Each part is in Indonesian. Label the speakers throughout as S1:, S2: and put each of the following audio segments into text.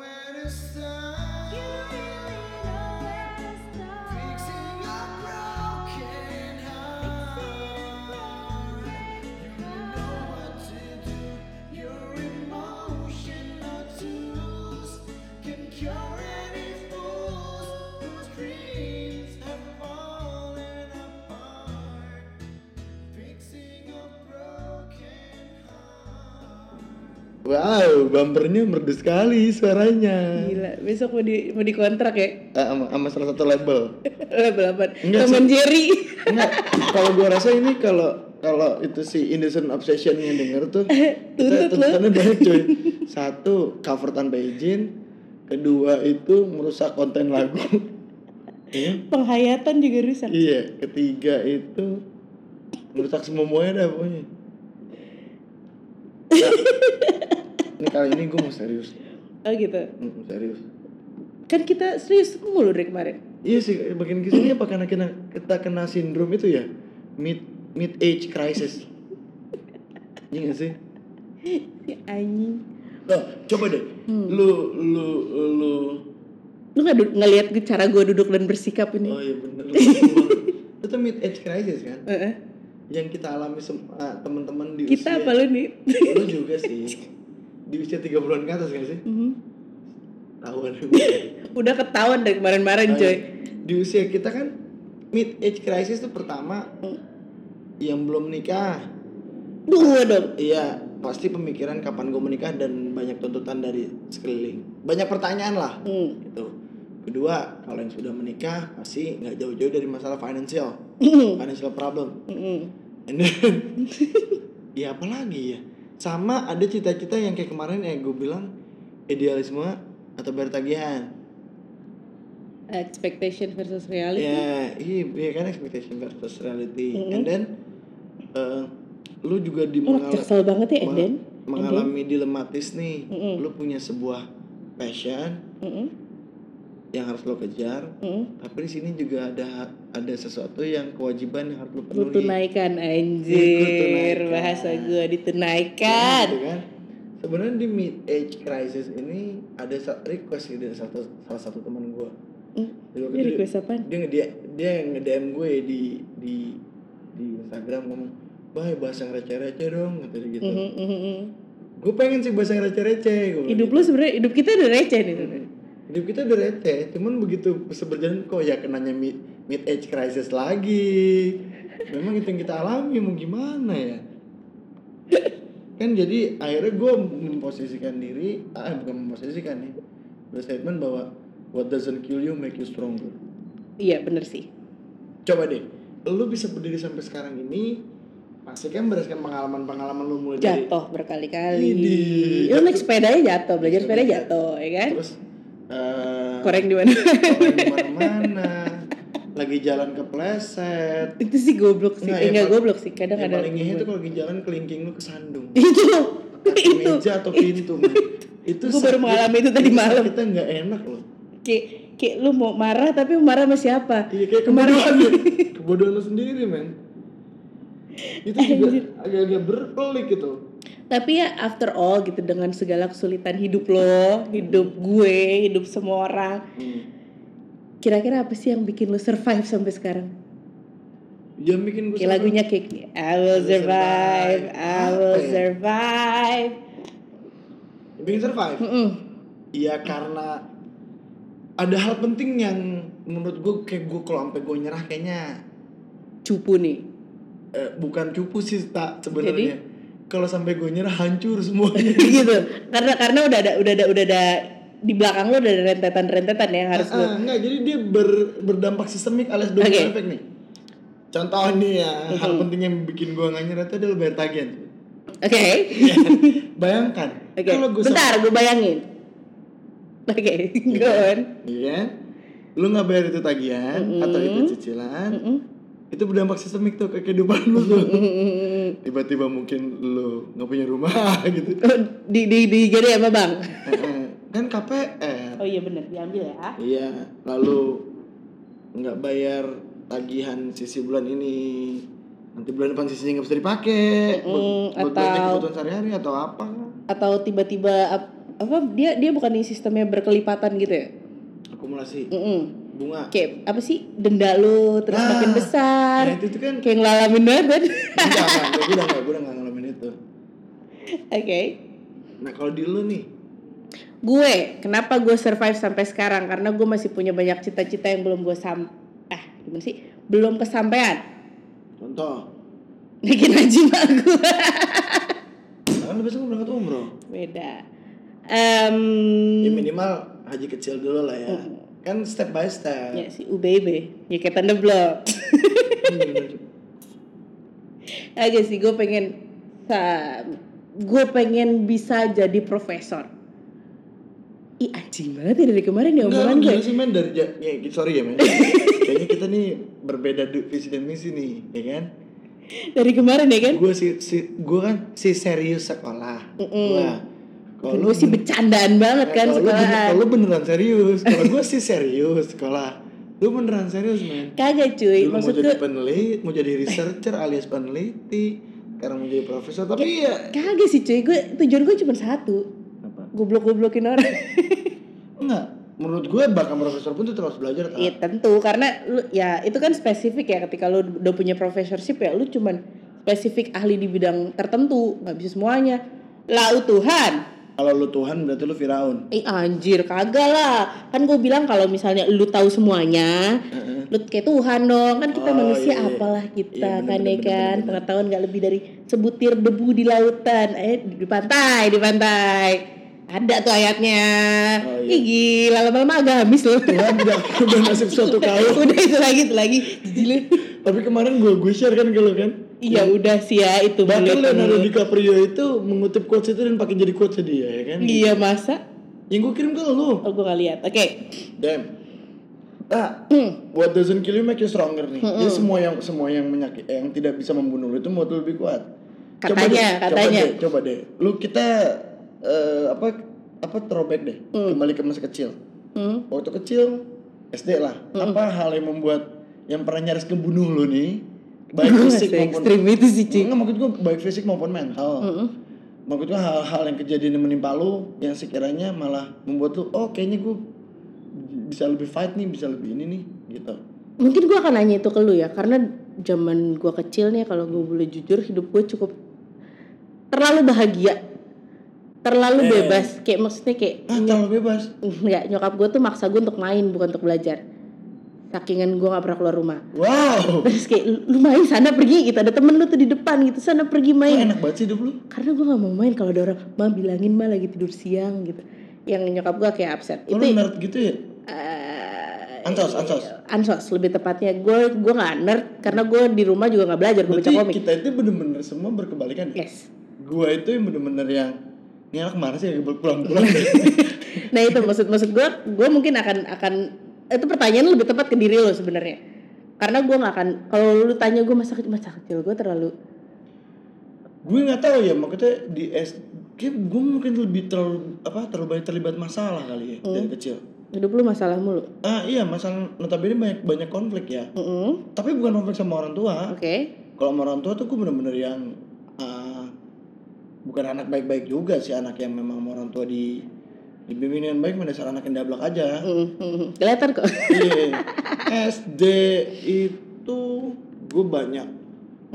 S1: this time. Fixing a broken heart. You know what to do. Your emotional tools can cure any fools whose dreams have fallen apart. Fixing a broken heart.
S2: Wow, bumpernya merdu sekali suaranya.
S3: Gila, besok mau di mau dikontrak ya.
S2: Eh, Sama sama salah satu label.
S3: Level 8.
S2: Enggak
S3: Temen Jerry.
S2: Enggak, kalau gua rasa ini kalau kalau itu si Innocent Obsession yang denger tuh kita
S3: Tuntut lu.
S2: tuntutannya banyak cuy. Satu, cover tanpa izin. Kedua itu merusak konten lagu. Iya.
S3: Penghayatan juga rusak.
S2: iya, ketiga itu merusak semua semuanya dah pokoknya. Nah, ini kali ini gue mau serius.
S3: Oh gitu.
S2: Mm, serius.
S3: Kan kita serius mulu dari kemarin.
S2: Iya sih, makin kesini apa karena kena, kita kena sindrom itu ya mid mid age crisis. Iya gak sih?
S3: Ya anjing.
S2: Nah, coba deh,
S3: Hmm.
S2: lu lu lu.
S3: Lu nggak du- nggak lihat cara gue duduk dan bersikap
S2: Oh
S3: ini?
S2: iya bener. Lu, lu- itu mid age crisis kan?
S3: Heeh.
S2: Yang kita alami semua teman-teman di
S3: Kita apa lu nih?
S2: Lu juga sih. Di usia 30-an ke atas gak sih?
S3: Mhm.
S2: Tahuan.
S3: Udah ketahuan dari
S2: Oh,
S3: kemarin-kemarin
S2: iya.
S3: coy.
S2: Di usia kita kan mid age crisis tuh pertama
S3: Hmm.
S2: yang belum nikah.
S3: Gue dong.
S2: Iya, pasti pemikiran kapan gue menikah dan banyak tuntutan dari sekeliling. Banyak pertanyaan lah.
S3: Hmm.
S2: Gitu. Kedua, kalau yang sudah menikah pasti nggak jauh-jauh dari masalah financial,
S3: Hmm,
S2: financial problem.
S3: Mhm.
S2: And then, ya apa lagi ya? Sama ada cita-cita yang kayak kemarin ya gue bilang idealisme atau bertagihan.
S3: Expectation versus reality.
S2: Ya, iya, iya kan expectation versus reality. And then, eh, lu juga di
S3: Lu kesel banget ya,
S2: Mengal-
S3: Eden.
S2: mengalami dilematis nih
S3: Mm-mm.
S2: lu punya sebuah passion
S3: Mhm.
S2: yang harus lo kejar
S3: Mhm.
S2: tapi di sini juga ada ada sesuatu yang kewajiban yang harus lo
S3: Lu
S2: penuhi
S3: tunaikan
S2: Ikut
S3: anjir
S2: tunaikan.
S3: bahasa gue
S2: Nah, gitu
S3: ditunaikan.
S2: kan sebenarnya di mid age crisis ini ada sa- request sih dari satu salah satu teman gue
S3: Hmm.
S2: dia,
S3: Ini request apaan?
S2: dia dia dia yang nge DM gue di di di Instagram ngomong Bay bahasa yang receh-receh dong kata dia gitu
S3: Mhm, mhm, mhm.
S2: gue pengen sih bahasa yang receh-receh gua bilang
S3: Hidup lu sebenarnya hidup kita udah receh nih. sebenarnya.
S2: hidup kita udah receh cuman begitu seberjalan kok ya kenanya mid, mid age crisis lagi memang itu yang kita alami mau gimana ya kan jadi akhirnya gue memposisikan diri ah bukan memposisikan nih berstatement bahwa what doesn't kill you make you stronger
S3: Iya bener sih.
S2: coba deh lu bisa berdiri sampai sekarang ini pasti kan berdasarkan pengalaman-pengalaman lu mulai dari
S3: Jatuh berkali-kali.
S2: Idih.
S3: Lu naik sepedanya jatuh,
S2: Jatuh,
S3: belajar sepeda
S2: jatuh.
S3: jatuh, ya kan?
S2: terus eh,
S3: Koreng di mana?
S2: orang di mana-mana lagi jalan kepleset
S3: itu sih goblok sih.
S2: Nggak,
S3: Eh,
S2: yang
S3: enggak
S2: paling-
S3: goblok sih, kadang
S2: yang
S3: ada.
S2: paling ngehe itu kalau lagi jalan kelingking lu kesandung
S3: Itu.
S2: Kaki
S3: Itu.
S2: meja atau pintu man. itu
S3: Gua baru mengalami itu tadi malam.
S2: kita nggak enak loh
S3: Kayak kayak lu mau marah tapi mau marah sama siapa?
S2: iya kayak
S3: Kemarin-
S2: kebodohan ya. kebodohan lu sendiri men itu juga agak-agak berpelik gitu
S3: Tapi ya after all gitu dengan segala kesulitan hidup lo, hidup gue, hidup semua orang.
S2: Hmm.
S3: Kira-kira apa sih yang bikin lo survive sampai sekarang?
S2: yang bikin gue
S3: Kayak lagunya kayak I will survive, I will
S2: Apa ya?
S3: survive.
S2: yang bikin survive
S3: Mm-mm.
S2: Iya karena ada hal penting yang menurut gue kayak gue kalau sampai gue nyerah kayaknya
S3: Cupu nih.
S2: eh, bukan cupu sih tak sebenarnya kalau sampai gue nyerah hancur semuanya
S3: gitu. Karena karena udah ada udah ada udah ada di belakang lo udah ada rentetan-rentetan ya yang harus
S2: Ah,
S3: lo.
S2: ah, enggak, jadi dia ber- berdampak sistemik alias domino
S3: Oke.
S2: effect nih. Contoh nih ya, hal penting yang bikin gua nggak nyerah itu adalah bayar tagihan.
S3: Oke.
S2: Bayangkan,
S3: Oke.
S2: kalau gua sam-
S3: Bentar, gue bayangin. Oke, go on.
S2: Iya kan? Lu nggak bayar itu tagihan atau itu cicilan, itu berdampak sistemik tuh ke kehidupan lu. tuh.
S3: Mm-mm.
S2: Tiba-tiba mungkin lu nggak punya rumah gitu.
S3: Oh, di di di gede sama Bang.
S2: Eh, eh, kan KPR.
S3: Oh iya bener, diambil ya.
S2: Iya, lalu nggak bayar tagihan sisi bulan ini, nanti bulan depan sisinya nggak bisa dipakai,
S3: Mm,
S2: belanja
S3: atau-
S2: kebutuhan sehari-hari atau apa?
S3: Atau tiba-tiba ap- apa dia dia bukan di sistemnya berkelipatan gitu ya?
S2: akumulasi
S3: Mm-mm.
S2: bunga
S3: Kayak apa sih denda lo terus
S2: Ah,
S3: makin besar.
S2: nah itu, itu kan
S3: Kayak ngalamin banget kan?
S2: enggak enggak gue udah enggak gue udah enggak ngalamin itu
S3: Oke.
S2: nah kalau di lu nih
S3: Gue, kenapa gue survive sampai sekarang? Karena gue masih punya banyak cita-cita yang belum gue sam ah, gimana sih? Belum kesampaian.
S2: contoh
S3: Bikin anjing mak gue.
S2: kan lu besok mau berangkat umroh
S3: Beda. Em,
S2: ya
S3: Mm.
S2: minimal haji kecil dulu lah ya kan step by step
S3: ya si UBB, nyeketan the block.
S2: Iya,
S3: Oke sih, gue pengen sa- gue pengen bisa jadi profesor. Ih anjing banget ya dari kemarin ya
S2: Enggak,
S3: omongan
S2: lu
S3: gue.
S2: gila sih men dari ja- ya, sorry ya men. Kayaknya kita nih berbeda du- visi dan misi nih, ya kan?
S3: Dari kemarin ya kan?
S2: Gue si, si gua kan si serius sekolah.
S3: Mm-mm.
S2: Gua. Kalau lu
S3: Gue sih
S2: bener-
S3: bercandaan banget kan
S2: kalau lu bener-
S3: sekolahan.
S2: Kalau lu beneran serius, kalau gue sih serius sekolah. Lu beneran serius men.
S3: Kagak
S2: Dulu
S3: cuy,
S2: mau
S3: maksud
S2: jadi
S3: gue
S2: peneliti, mau jadi researcher alias peneliti, sekarang mau jadi profesor, tapi ya
S3: Kagak sih cuy, gue tujuan gue cuma satu.
S2: Apa?
S3: Goblok-goblokin orang.
S2: enggak. Menurut gue bahkan profesor pun tetap harus belajar. Kak.
S3: Iya tentu karena lu ya itu kan spesifik ya ketika lu udah punya professorship ya lu cuman spesifik ahli di bidang tertentu, nggak bisa semuanya. Lau Tuhan.
S2: Kalau lu Tuhan berarti lu Firaun.
S3: Eh anjir kagak lah. Kan gue bilang kalau misalnya lu tahu semuanya,
S2: Heeh.
S3: lu kayak Tuhan dong. Kan kita
S2: Oh, iya,
S3: manusia
S2: iya.
S3: apalah kita
S2: Iya, bener,
S3: kan ya
S2: bener, bener,
S3: kan
S2: bener.
S3: pengetahuan nggak lebih dari sebutir debu di lautan. Eh di pantai, di pantai. Ada tuh ayatnya.
S2: Oh, iya.
S3: Ih gila lama-lama agak habis loh.
S2: Tuhan tidak berubah nasib suatu kaum.
S3: udah itu lagi itu lagi jijilin
S2: Tapi kemarin gue gue share kan ke lo kan.
S3: iya udah sih ya itu
S2: Bahkan
S3: boleh
S2: Leonardo
S3: tuh.
S2: DiCaprio itu mengutip quotes itu dan pakai jadi quotes dia ya kan.
S3: iya masa
S2: Yang gue kirim ke lo.
S3: oh gue gak lihat oke
S2: Damn. Nah,
S3: Hmm.
S2: what doesn't kill you make you stronger nih. Jadi semua yang semua yang menyakit eh, yang tidak bisa membunuh lu itu membuat lu lebih kuat. Coba
S3: Katanya,
S2: deh,
S3: katanya.
S2: Coba deh, coba deh. Lu kita eh, apa apa throwback deh. Kembali ke masa kecil.
S3: Hmm.
S2: waktu kecil SD lah apa hal yang membuat yang pernah nyaris ngebunuh lu nih baik fisik
S3: Se
S2: maupun
S3: ekstrim Hmm. itu sih cuy
S2: Enggak, maksud gua baik fisik maupun mental
S3: Mm-mm.
S2: maksud gua hal-hal yang kejadian yang menimpa lu yang sekiranya malah membuat lu oh kayaknya gua bisa lebih fight nih bisa lebih ini nih gitu
S3: mungkin gue akan nanya itu ke lu ya karena zaman gue kecil nih kalau gue boleh jujur hidup gue cukup terlalu bahagia terlalu
S2: Eh.
S3: bebas kayak maksudnya kayak
S2: ah terlalu bebas
S3: nggak nyokap gue tuh maksa gue untuk main bukan untuk belajar sakingan gue gak pernah keluar rumah
S2: wow
S3: terus kayak "Lu- lu main sana pergi gitu ada temen lu tuh di depan gitu sana pergi
S2: Wah,
S3: main
S2: enak banget sih hidup lu
S3: karena gue gak mau main kalau ada orang ma bilangin ma lagi tidur siang gitu yang nyokap gue kayak upset
S2: Lu
S3: itu
S2: nerd gitu ya
S3: eh,
S2: ansos ansos
S3: ansos lebih tepatnya gue gue nggak nerd karena gue di rumah juga nggak belajar gue baca
S2: berarti
S3: komik
S2: kita itu bener-bener semua berkebalikan ya?
S3: yes
S2: gua itu yang bener-bener yang ini anak kemana sih pulang-pulang
S3: nah itu maksud maksud gue gue mungkin akan akan itu pertanyaan lebih tepat ke diri lo sebenarnya karena gue nggak akan kalau lu tanya gue masa kecil masa kecil gue terlalu
S2: gue nggak tahu ya maksudnya di S kayak gue mungkin lebih terlalu apa terlalu banyak terlibat masalah kali ya dari
S3: Hmm.
S2: kecil
S3: hidup lu masalah mulu
S2: ah iya masalah notabene banyak banyak konflik ya
S3: Mm-mm.
S2: tapi bukan konflik sama orang tua
S3: oke
S2: kalau sama orang tua tuh gue bener-bener yang ah, bukan anak baik-baik juga sih anak yang memang sama orang tua di dibimbing dengan baik mendasar anak yang dablak aja
S3: Mm-mm. kelihatan kok
S2: Iya. SD itu gue banyak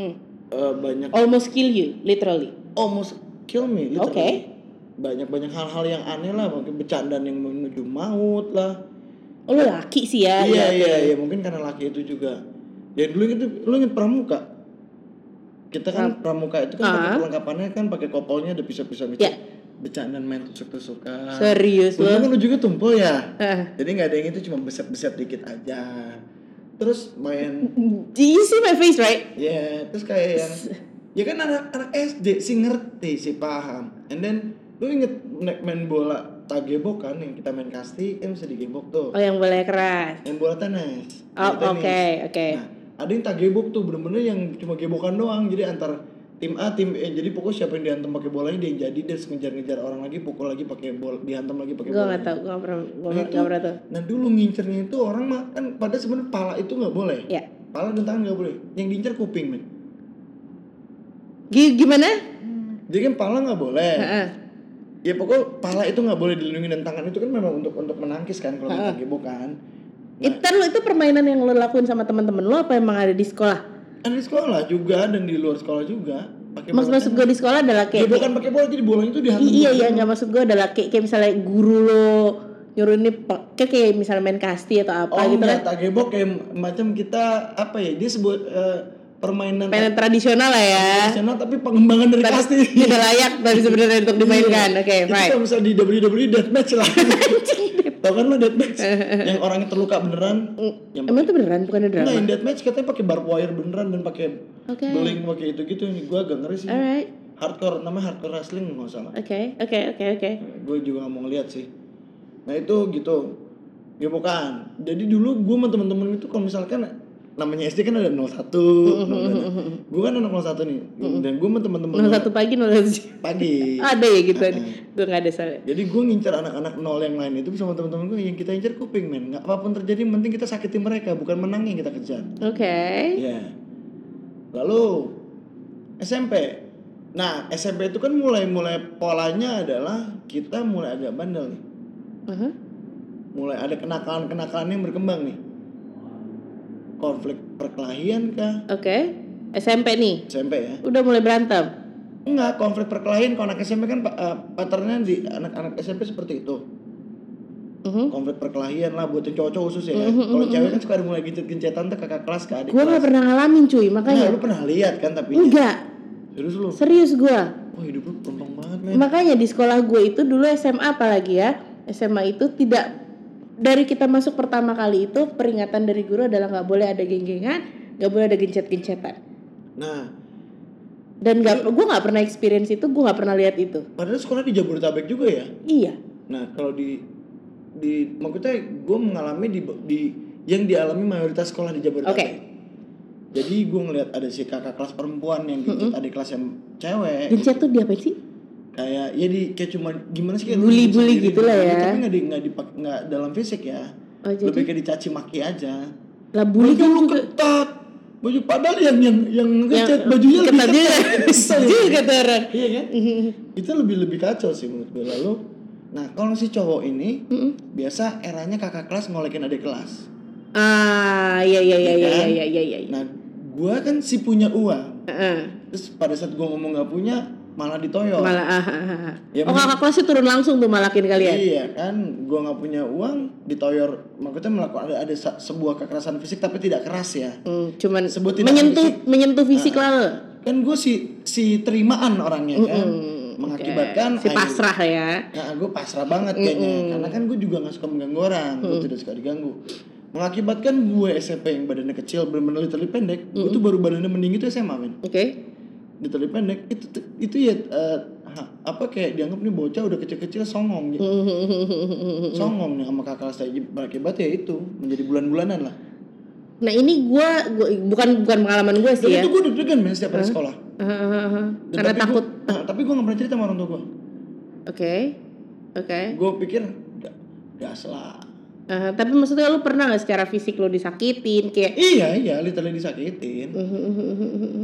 S3: Mm.
S2: eh, banyak
S3: almost kill you literally
S2: almost kill me literally.
S3: Oke.
S2: Banyak-banyak hal-hal yang aneh lah, mungkin bercandaan yang menuju maut lah.
S3: Oh, lu laki sih ya
S2: iya,
S3: berarti.
S2: iya, iya, mungkin karena laki itu juga. Ya dulu itu lu inget pramuka. Kita kan pramuka itu kan pakai
S3: Ah.
S2: perlengkapannya kan pakai kopolnya ada pisau-pisau gitu.
S3: Iya.
S2: Bercandaan main tusuk-tusukan.
S3: serius
S2: Untung
S3: lo
S2: kan lu juga tumpul ya.
S3: Ah.
S2: Jadi nggak ada yang itu cuma beset-beset dikit aja. Terus main
S3: Do you see my face, right?
S2: Ya, terus kayak yang ya kan anak-anak SD sih ngerti sih paham. And then lu inget naik main bola tagebok kan yang kita main kasti kan bisa digebok tuh.
S3: Oh, yang boleh keras.
S2: Main bola tenis.
S3: Oh,
S2: bola tenis.
S3: oke, oke.
S2: Nah, ada yang tagebok tuh bener-bener yang cuma gebokan doang. Jadi antar tim A, tim E. Jadi pokoknya siapa yang dihantam pakai bolanya dia yang jadi dan ngejar-ngejar orang lagi pukul lagi pakai bola, dihantam lagi pakai
S3: Gue
S2: bola.
S3: gak tau, gue gak pernah, gue
S2: Nah,
S3: gak
S2: itu-
S3: gak pernah tuh.
S2: Nah, dulu ngincernya itu orang mah kan pada sebenarnya pala itu nggak boleh.
S3: Ya.
S2: Pala dan tangan nggak boleh. Yang diincer kuping, men.
S3: Gi- Gimana?
S2: Jadi kan pala nggak boleh.
S3: Heeh.
S2: ya pokok pala itu nggak boleh dilindungi dan tangan itu kan memang untuk untuk menangkis kan kalau
S3: Ha.
S2: main kebo kan Nah,
S3: Itu lo itu permainan yang lo lakuin sama teman-teman lo apa emang ada di sekolah?
S2: kan di sekolah juga dan di luar sekolah juga pakai
S3: Maksud maksud gue di sekolah adalah
S2: ya
S3: kayak
S2: bukan pakai bola jadi bolanya itu dihantam
S3: I- iya iya nggak maksud gue adalah kayak, kayak misalnya guru lo nyuruh ini pe- kayak kayak misalnya main kasti atau apa
S2: oh
S3: gitu
S2: enggak
S3: kan
S2: tak gebok kayak macam kita apa ya dia sebut eh, permainan
S3: mainan tradisional lah ya
S2: tradisional tapi pengembangan dari
S3: Tapi
S2: kasti Iya.
S3: tidak layak tapi sebenarnya untuk dimainkan oke
S2: Itu
S3: fine
S2: kalau misalnya di WWE deathmatch lah Tau kan lo deathmatch Yang orangnya terluka beneran Yang
S3: emang itu Mm, beneran Iya. bukan ada
S2: Nah,
S3: drama
S2: yang deathmatch katanya pakai barbed wire beneran dan pakai
S3: Oke.
S2: beling pakai itu gitu nih gua agak ngeri sih.
S3: alright
S2: Hardcore namanya hardcore wrestling nggak salah.
S3: oke oke oke oke
S2: Gue juga nggak mau ngeliat sih. Nah itu gitu. Ya bukan. Jadi dulu gue sama temen-temen itu kalau misalkan namanya SD kan ada 01, 02. Gue kan anak 01 nih. Dan gue sama temen-temen
S3: nol satu pagi nol satu siang.
S2: pagi.
S3: ada ya gitu gue nggak ada soalnya
S2: Jadi gue ngincer anak-anak nol yang lain itu sama temen-temen gue yang kita incer kuping men. Nggak apapun terjadi yang penting kita sakiti mereka bukan menang yang kita kejar.
S3: oke
S2: Ya. Lalu SMP. Nah, SMP itu kan mulai-mulai polanya adalah kita mulai agak bandel nih.
S3: Aha.
S2: Mulai ada kenakalan-kenakalan yang berkembang nih. Konflik perkelahian kah?
S3: oke SMP nih
S2: SMP ya.
S3: udah mulai berantem
S2: Enggak, konflik perkelahian kalau anak SMP kan eh, patternnya di anak-anak SMP seperti itu.
S3: Mhm.
S2: Konflik perkelahian lah buat yang cowok-cowok khusus ya. Kalau cewek kan suka ada mulai gencet-gencetan tuh kakak kelas ke adik
S3: gue Mm-hmm, nggak
S2: kelas.
S3: pernah ngalamin cuy
S2: Nah,
S3: makanya
S2: lu pernah lihat kan tapi
S3: enggak
S2: Serius lu?
S3: serius gue
S2: Wah hidup lu kembang banget men
S3: Makanya di sekolah gue itu dulu SMA apalagi ya SMA itu tidak dari kita masuk pertama kali itu peringatan dari guru adalah nggak boleh ada genggengan, nggak boleh ada gencet-gencetan.
S2: Nah
S3: Dan nggak gue nggak pernah experience itu, gue nggak pernah lihat itu.
S2: padahal sekolah di Jabodetabek juga ya
S3: Iya.
S2: Nah kalau di di maksudnya gue mengalami di, di yang dialami mayoritas sekolah di Jabodetabek
S3: Oke.
S2: Jadi gue ngeliat ada si kakak kelas perempuan yang gencet adik kelas yang cewek
S3: Gencet tuh diapain sih?
S2: Kayak ya di kayak cuma gimana sih kayak lu
S3: Bully-bully
S2: sendiri,
S3: gitu lah
S2: bully,
S3: ya.
S2: Tapi gak, di, gak, dipak, gak dalam fisik ya
S3: Oh
S2: Lebih
S3: jadi
S2: kayak dicaci maki aja
S3: lah
S2: Baju
S3: bully kan
S2: lu
S3: juga.
S2: ketat Baju padahal yang yang yang ngecat
S3: Yang-
S2: bajunya lebih
S3: ketat juga.
S2: Kesel ya.
S3: juga tuh orang.
S2: Iya kan? itu lebih lebih kacau sih menurut gue lalu nah kalau si cowok ini
S3: Mm-mm.
S2: biasa eranya kakak kelas ngolekin adik kelas
S3: Ah iya iya iya iya iya iya iya. iya.
S2: nah gue kan si punya uang
S3: Heeh.
S2: terus pada saat gue ngomong gak punya malah ditoyol
S3: Malah ah, ah, ah, ah.
S2: Ya,
S3: oh kakak kelasnya turun langsung tuh malakin kalian.
S2: iya kan gue nggak punya uang ditoyor maksudnya melakukan ada, ada sa- sebuah kekerasan fisik tapi tidak keras ya
S3: Hmm, cuman
S2: Sebutin Ah,
S3: menyentuh
S2: fisik.
S3: menyentuh fisik lah lo.
S2: kan gue si si terimaan orangnya kan
S3: Mm,
S2: mengakibatkan
S3: oke. si
S2: akhir-
S3: pasrah ya.
S2: Nah, gue pasrah banget kayaknya. Karena kan gue juga gak suka mengganggu orang. Gue tidak suka diganggu. Mengakibatkan gue SMP yang badannya kecil, bener-bener literally pendek. Gue tuh baru badannya mending itu SMA, men.
S3: Oke.
S2: Literally pendek. Itu tuh- itu ya, eh, ha- apa kayak dianggap nih bocah udah kecil-kecil songong. gitu.
S3: Mm-hmm.
S2: Songong nih sama kakak saya. Berakibat ya itu. Menjadi bulan-bulanan lah.
S3: Nah ini gue bukan bukan pengalaman gue
S2: Dan
S3: sih ya.
S2: itu gue gitu deg-degan, men, setiap hari sekolah.
S3: Ah, ah, ah, ah.
S2: Dan
S3: Karena
S2: tapi
S3: takut.
S2: Gua, nah, tapi gue gak pernah cerita sama orang tua gue.
S3: Oke. Oke.
S2: Gue pikir, "Ga- gas lah.
S3: Ah, tapi maksudnya lu pernah nggak secara fisik lu disakitin kayak?
S2: Iya, iya, literally disakitin.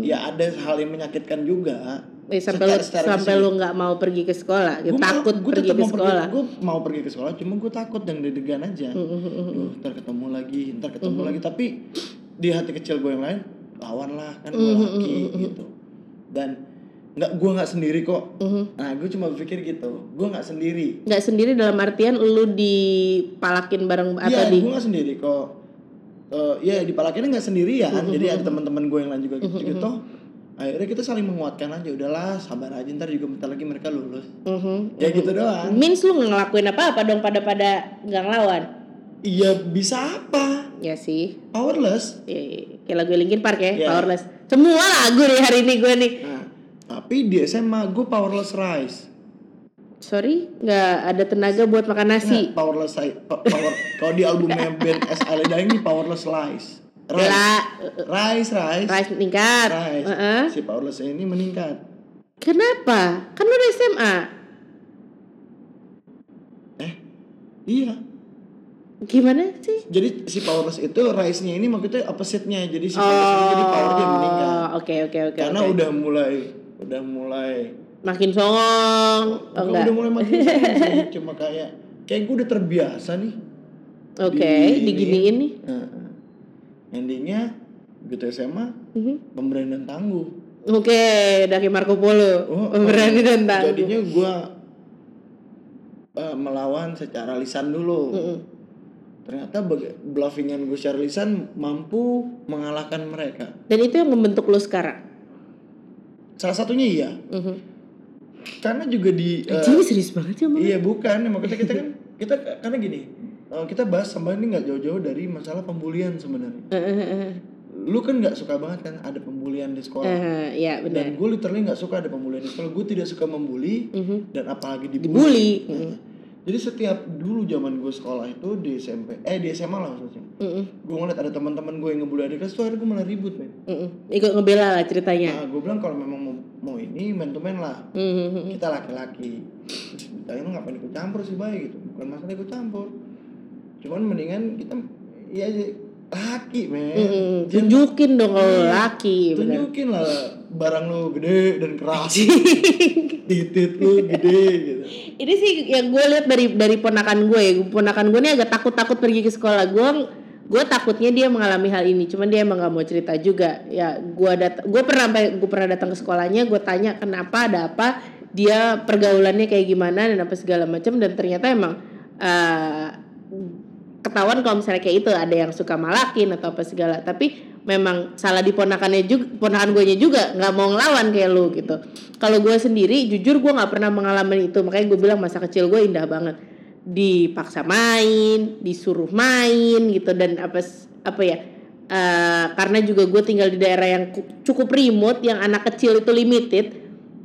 S2: ya ada hal yang menyakitkan juga
S3: Eh, sampai lu
S2: Secara- secara
S3: sampai
S2: fisik.
S3: lu nggak mau pergi ke sekolah, gitu.
S2: Gua mau-
S3: takut
S2: gua
S3: pergi
S2: tetap
S3: ke
S2: mau
S3: sekolah.
S2: gue mau pergi ke sekolah cuma gue takut dan deg-degan aja Duh, ntar ketemu lagi ntar ketemu lagi tapi di hati kecil gue yang lain lawanlah kan gue laki gitu dan nggak gue nggak sendiri kok nah gue cuma berpikir gitu gue nggak sendiri
S3: Mm-hmm. Nggak sendiri dalam artian lu dipalakin bareng atau
S2: Iya,
S3: di
S2: gue nggak sendiri kok. Eh, Iya, di Palakirnya nggak sendirian. Jadi ada teman-teman gue yang lain juga gitu. gitu toh, akhirnya kita saling menguatkan aja. Udahlah, sabar aja. Ntar juga bentar lagi mereka lulus.
S3: Mhm.
S2: Ya gitu doang.
S3: Means lu nggak ngelakuin apa-apa dong pada pada nggak ngelawan.
S2: Iya bisa apa?
S3: Ya sih.
S2: Powerless.
S3: Iya, iya. kayak lagu Linkin Park ya,
S2: Iya.
S3: Powerless. Semua lagu nih hari ini gue nih.
S2: Nah, tapi di SMA gue powerless rise.
S3: Sorry, nggak ada tenaga buat makan nasi.
S2: Nggak, powerless rise. Po- Power. Kalau di albumnya band S. Ale Daeng ini powerless rise. Rise,
S3: Lah,
S2: rise, rise,
S3: rice meningkat.
S2: rise.
S3: Iya. Heeh.
S2: Si powerless ini meningkat.
S3: Kenapa? Kan lu udah SMA.
S2: Iya.
S3: Gimana sih?
S2: Jadi si powerless itu rise-nya ini maksudnya opposite-nya. Jadi si
S3: Oh,
S2: powerless ini jadi powernya meningkat.
S3: oke oke oke.
S2: Karena
S3: oke.
S2: udah mulai udah mulai
S3: makin songong oh,
S2: Kalau
S3: enggak
S2: udah mulai makin sering sih, cuma kayak kayak gue udah terbiasa nih.
S3: oke
S2: di-
S3: diginiin nih
S2: Nah, endingnya gitu SMA
S3: Mhm.
S2: pemberani dan tangguh.
S3: oke dari Marco Polo
S2: Oh, oh,
S3: berani dan tangguh
S2: Jadinya gue eh, melawan secara lisan dulu.
S3: Mm-mm.
S2: Ternyata baga- bluffingan gue secara lisan mampu mengalahkan mereka.
S3: dan itu yang membentuk lo sekarang
S2: Salah satunya iya,
S3: Mhm.
S2: karena juga di eh,
S3: Anjing, serius banget sih omongnya
S2: Iya bukan, maksudnya kita kan kita karena gini, eh, kita bahas sama ini nggak jauh-jauh dari masalah pembulian sebenarnya.
S3: Eh.
S2: Lu kan nggak suka banget kan ada pembulian di sekolah.
S3: Eh, ya
S2: Dan
S3: benar
S2: gue literally nggak suka ada pembulian di sekolah. Gue tidak suka membuli
S3: Mhm.
S2: dan apalagi
S3: dibully
S2: dibully.
S3: Mhm.
S2: Jadi setiap dulu zaman gue sekolah itu di SMP, eh di SMA lah maksudnya.
S3: Mhm.
S2: Gue ngeliat ada teman-teman gue yang ngebully adik kelas tuh akhirnya gue malah ribut, men.
S3: Mhm. ikut ngebela lah ceritanya
S2: Nah, gue bilang kalau memang mau, mau ini man to man lah.
S3: Mhm.
S2: kita laki-laki kita emang ngapain ikut campur sih baik gitu bukan masalah ikut campur cuman mendingan kita ya laki men
S3: Mhm.
S2: Jangan-
S3: tunjukin dong kalau lo
S2: Iya,
S3: laki benar
S2: tunjukin lah barang lu gede dan keras titit lu gede gitu
S3: Ini sih yang gue lihat dari dari ponakan gue. ya. Ponakan gue ini agak takut-takut pergi ke sekolah. Gue gue takutnya dia mengalami hal ini. Cuman dia emang gak mau cerita juga. Ya gue dat gue pernah gue pernah datang ke sekolahnya. Gue tanya kenapa ada apa. Dia pergaulannya kayak gimana dan apa segala macam. Dan ternyata emang eh, ketahuan kalau misalnya kayak itu ada yang suka malakin atau apa segala. Tapi memang salah di ponakannya juga ponakan gue juga nggak mau ngelawan kayak lu gitu kalau gue sendiri jujur gue nggak pernah mengalami itu makanya gue bilang masa kecil gue indah banget dipaksa main disuruh main gitu dan apa s- apa ya eh, karena juga gue tinggal di daerah yang ku- cukup remote yang anak kecil itu limited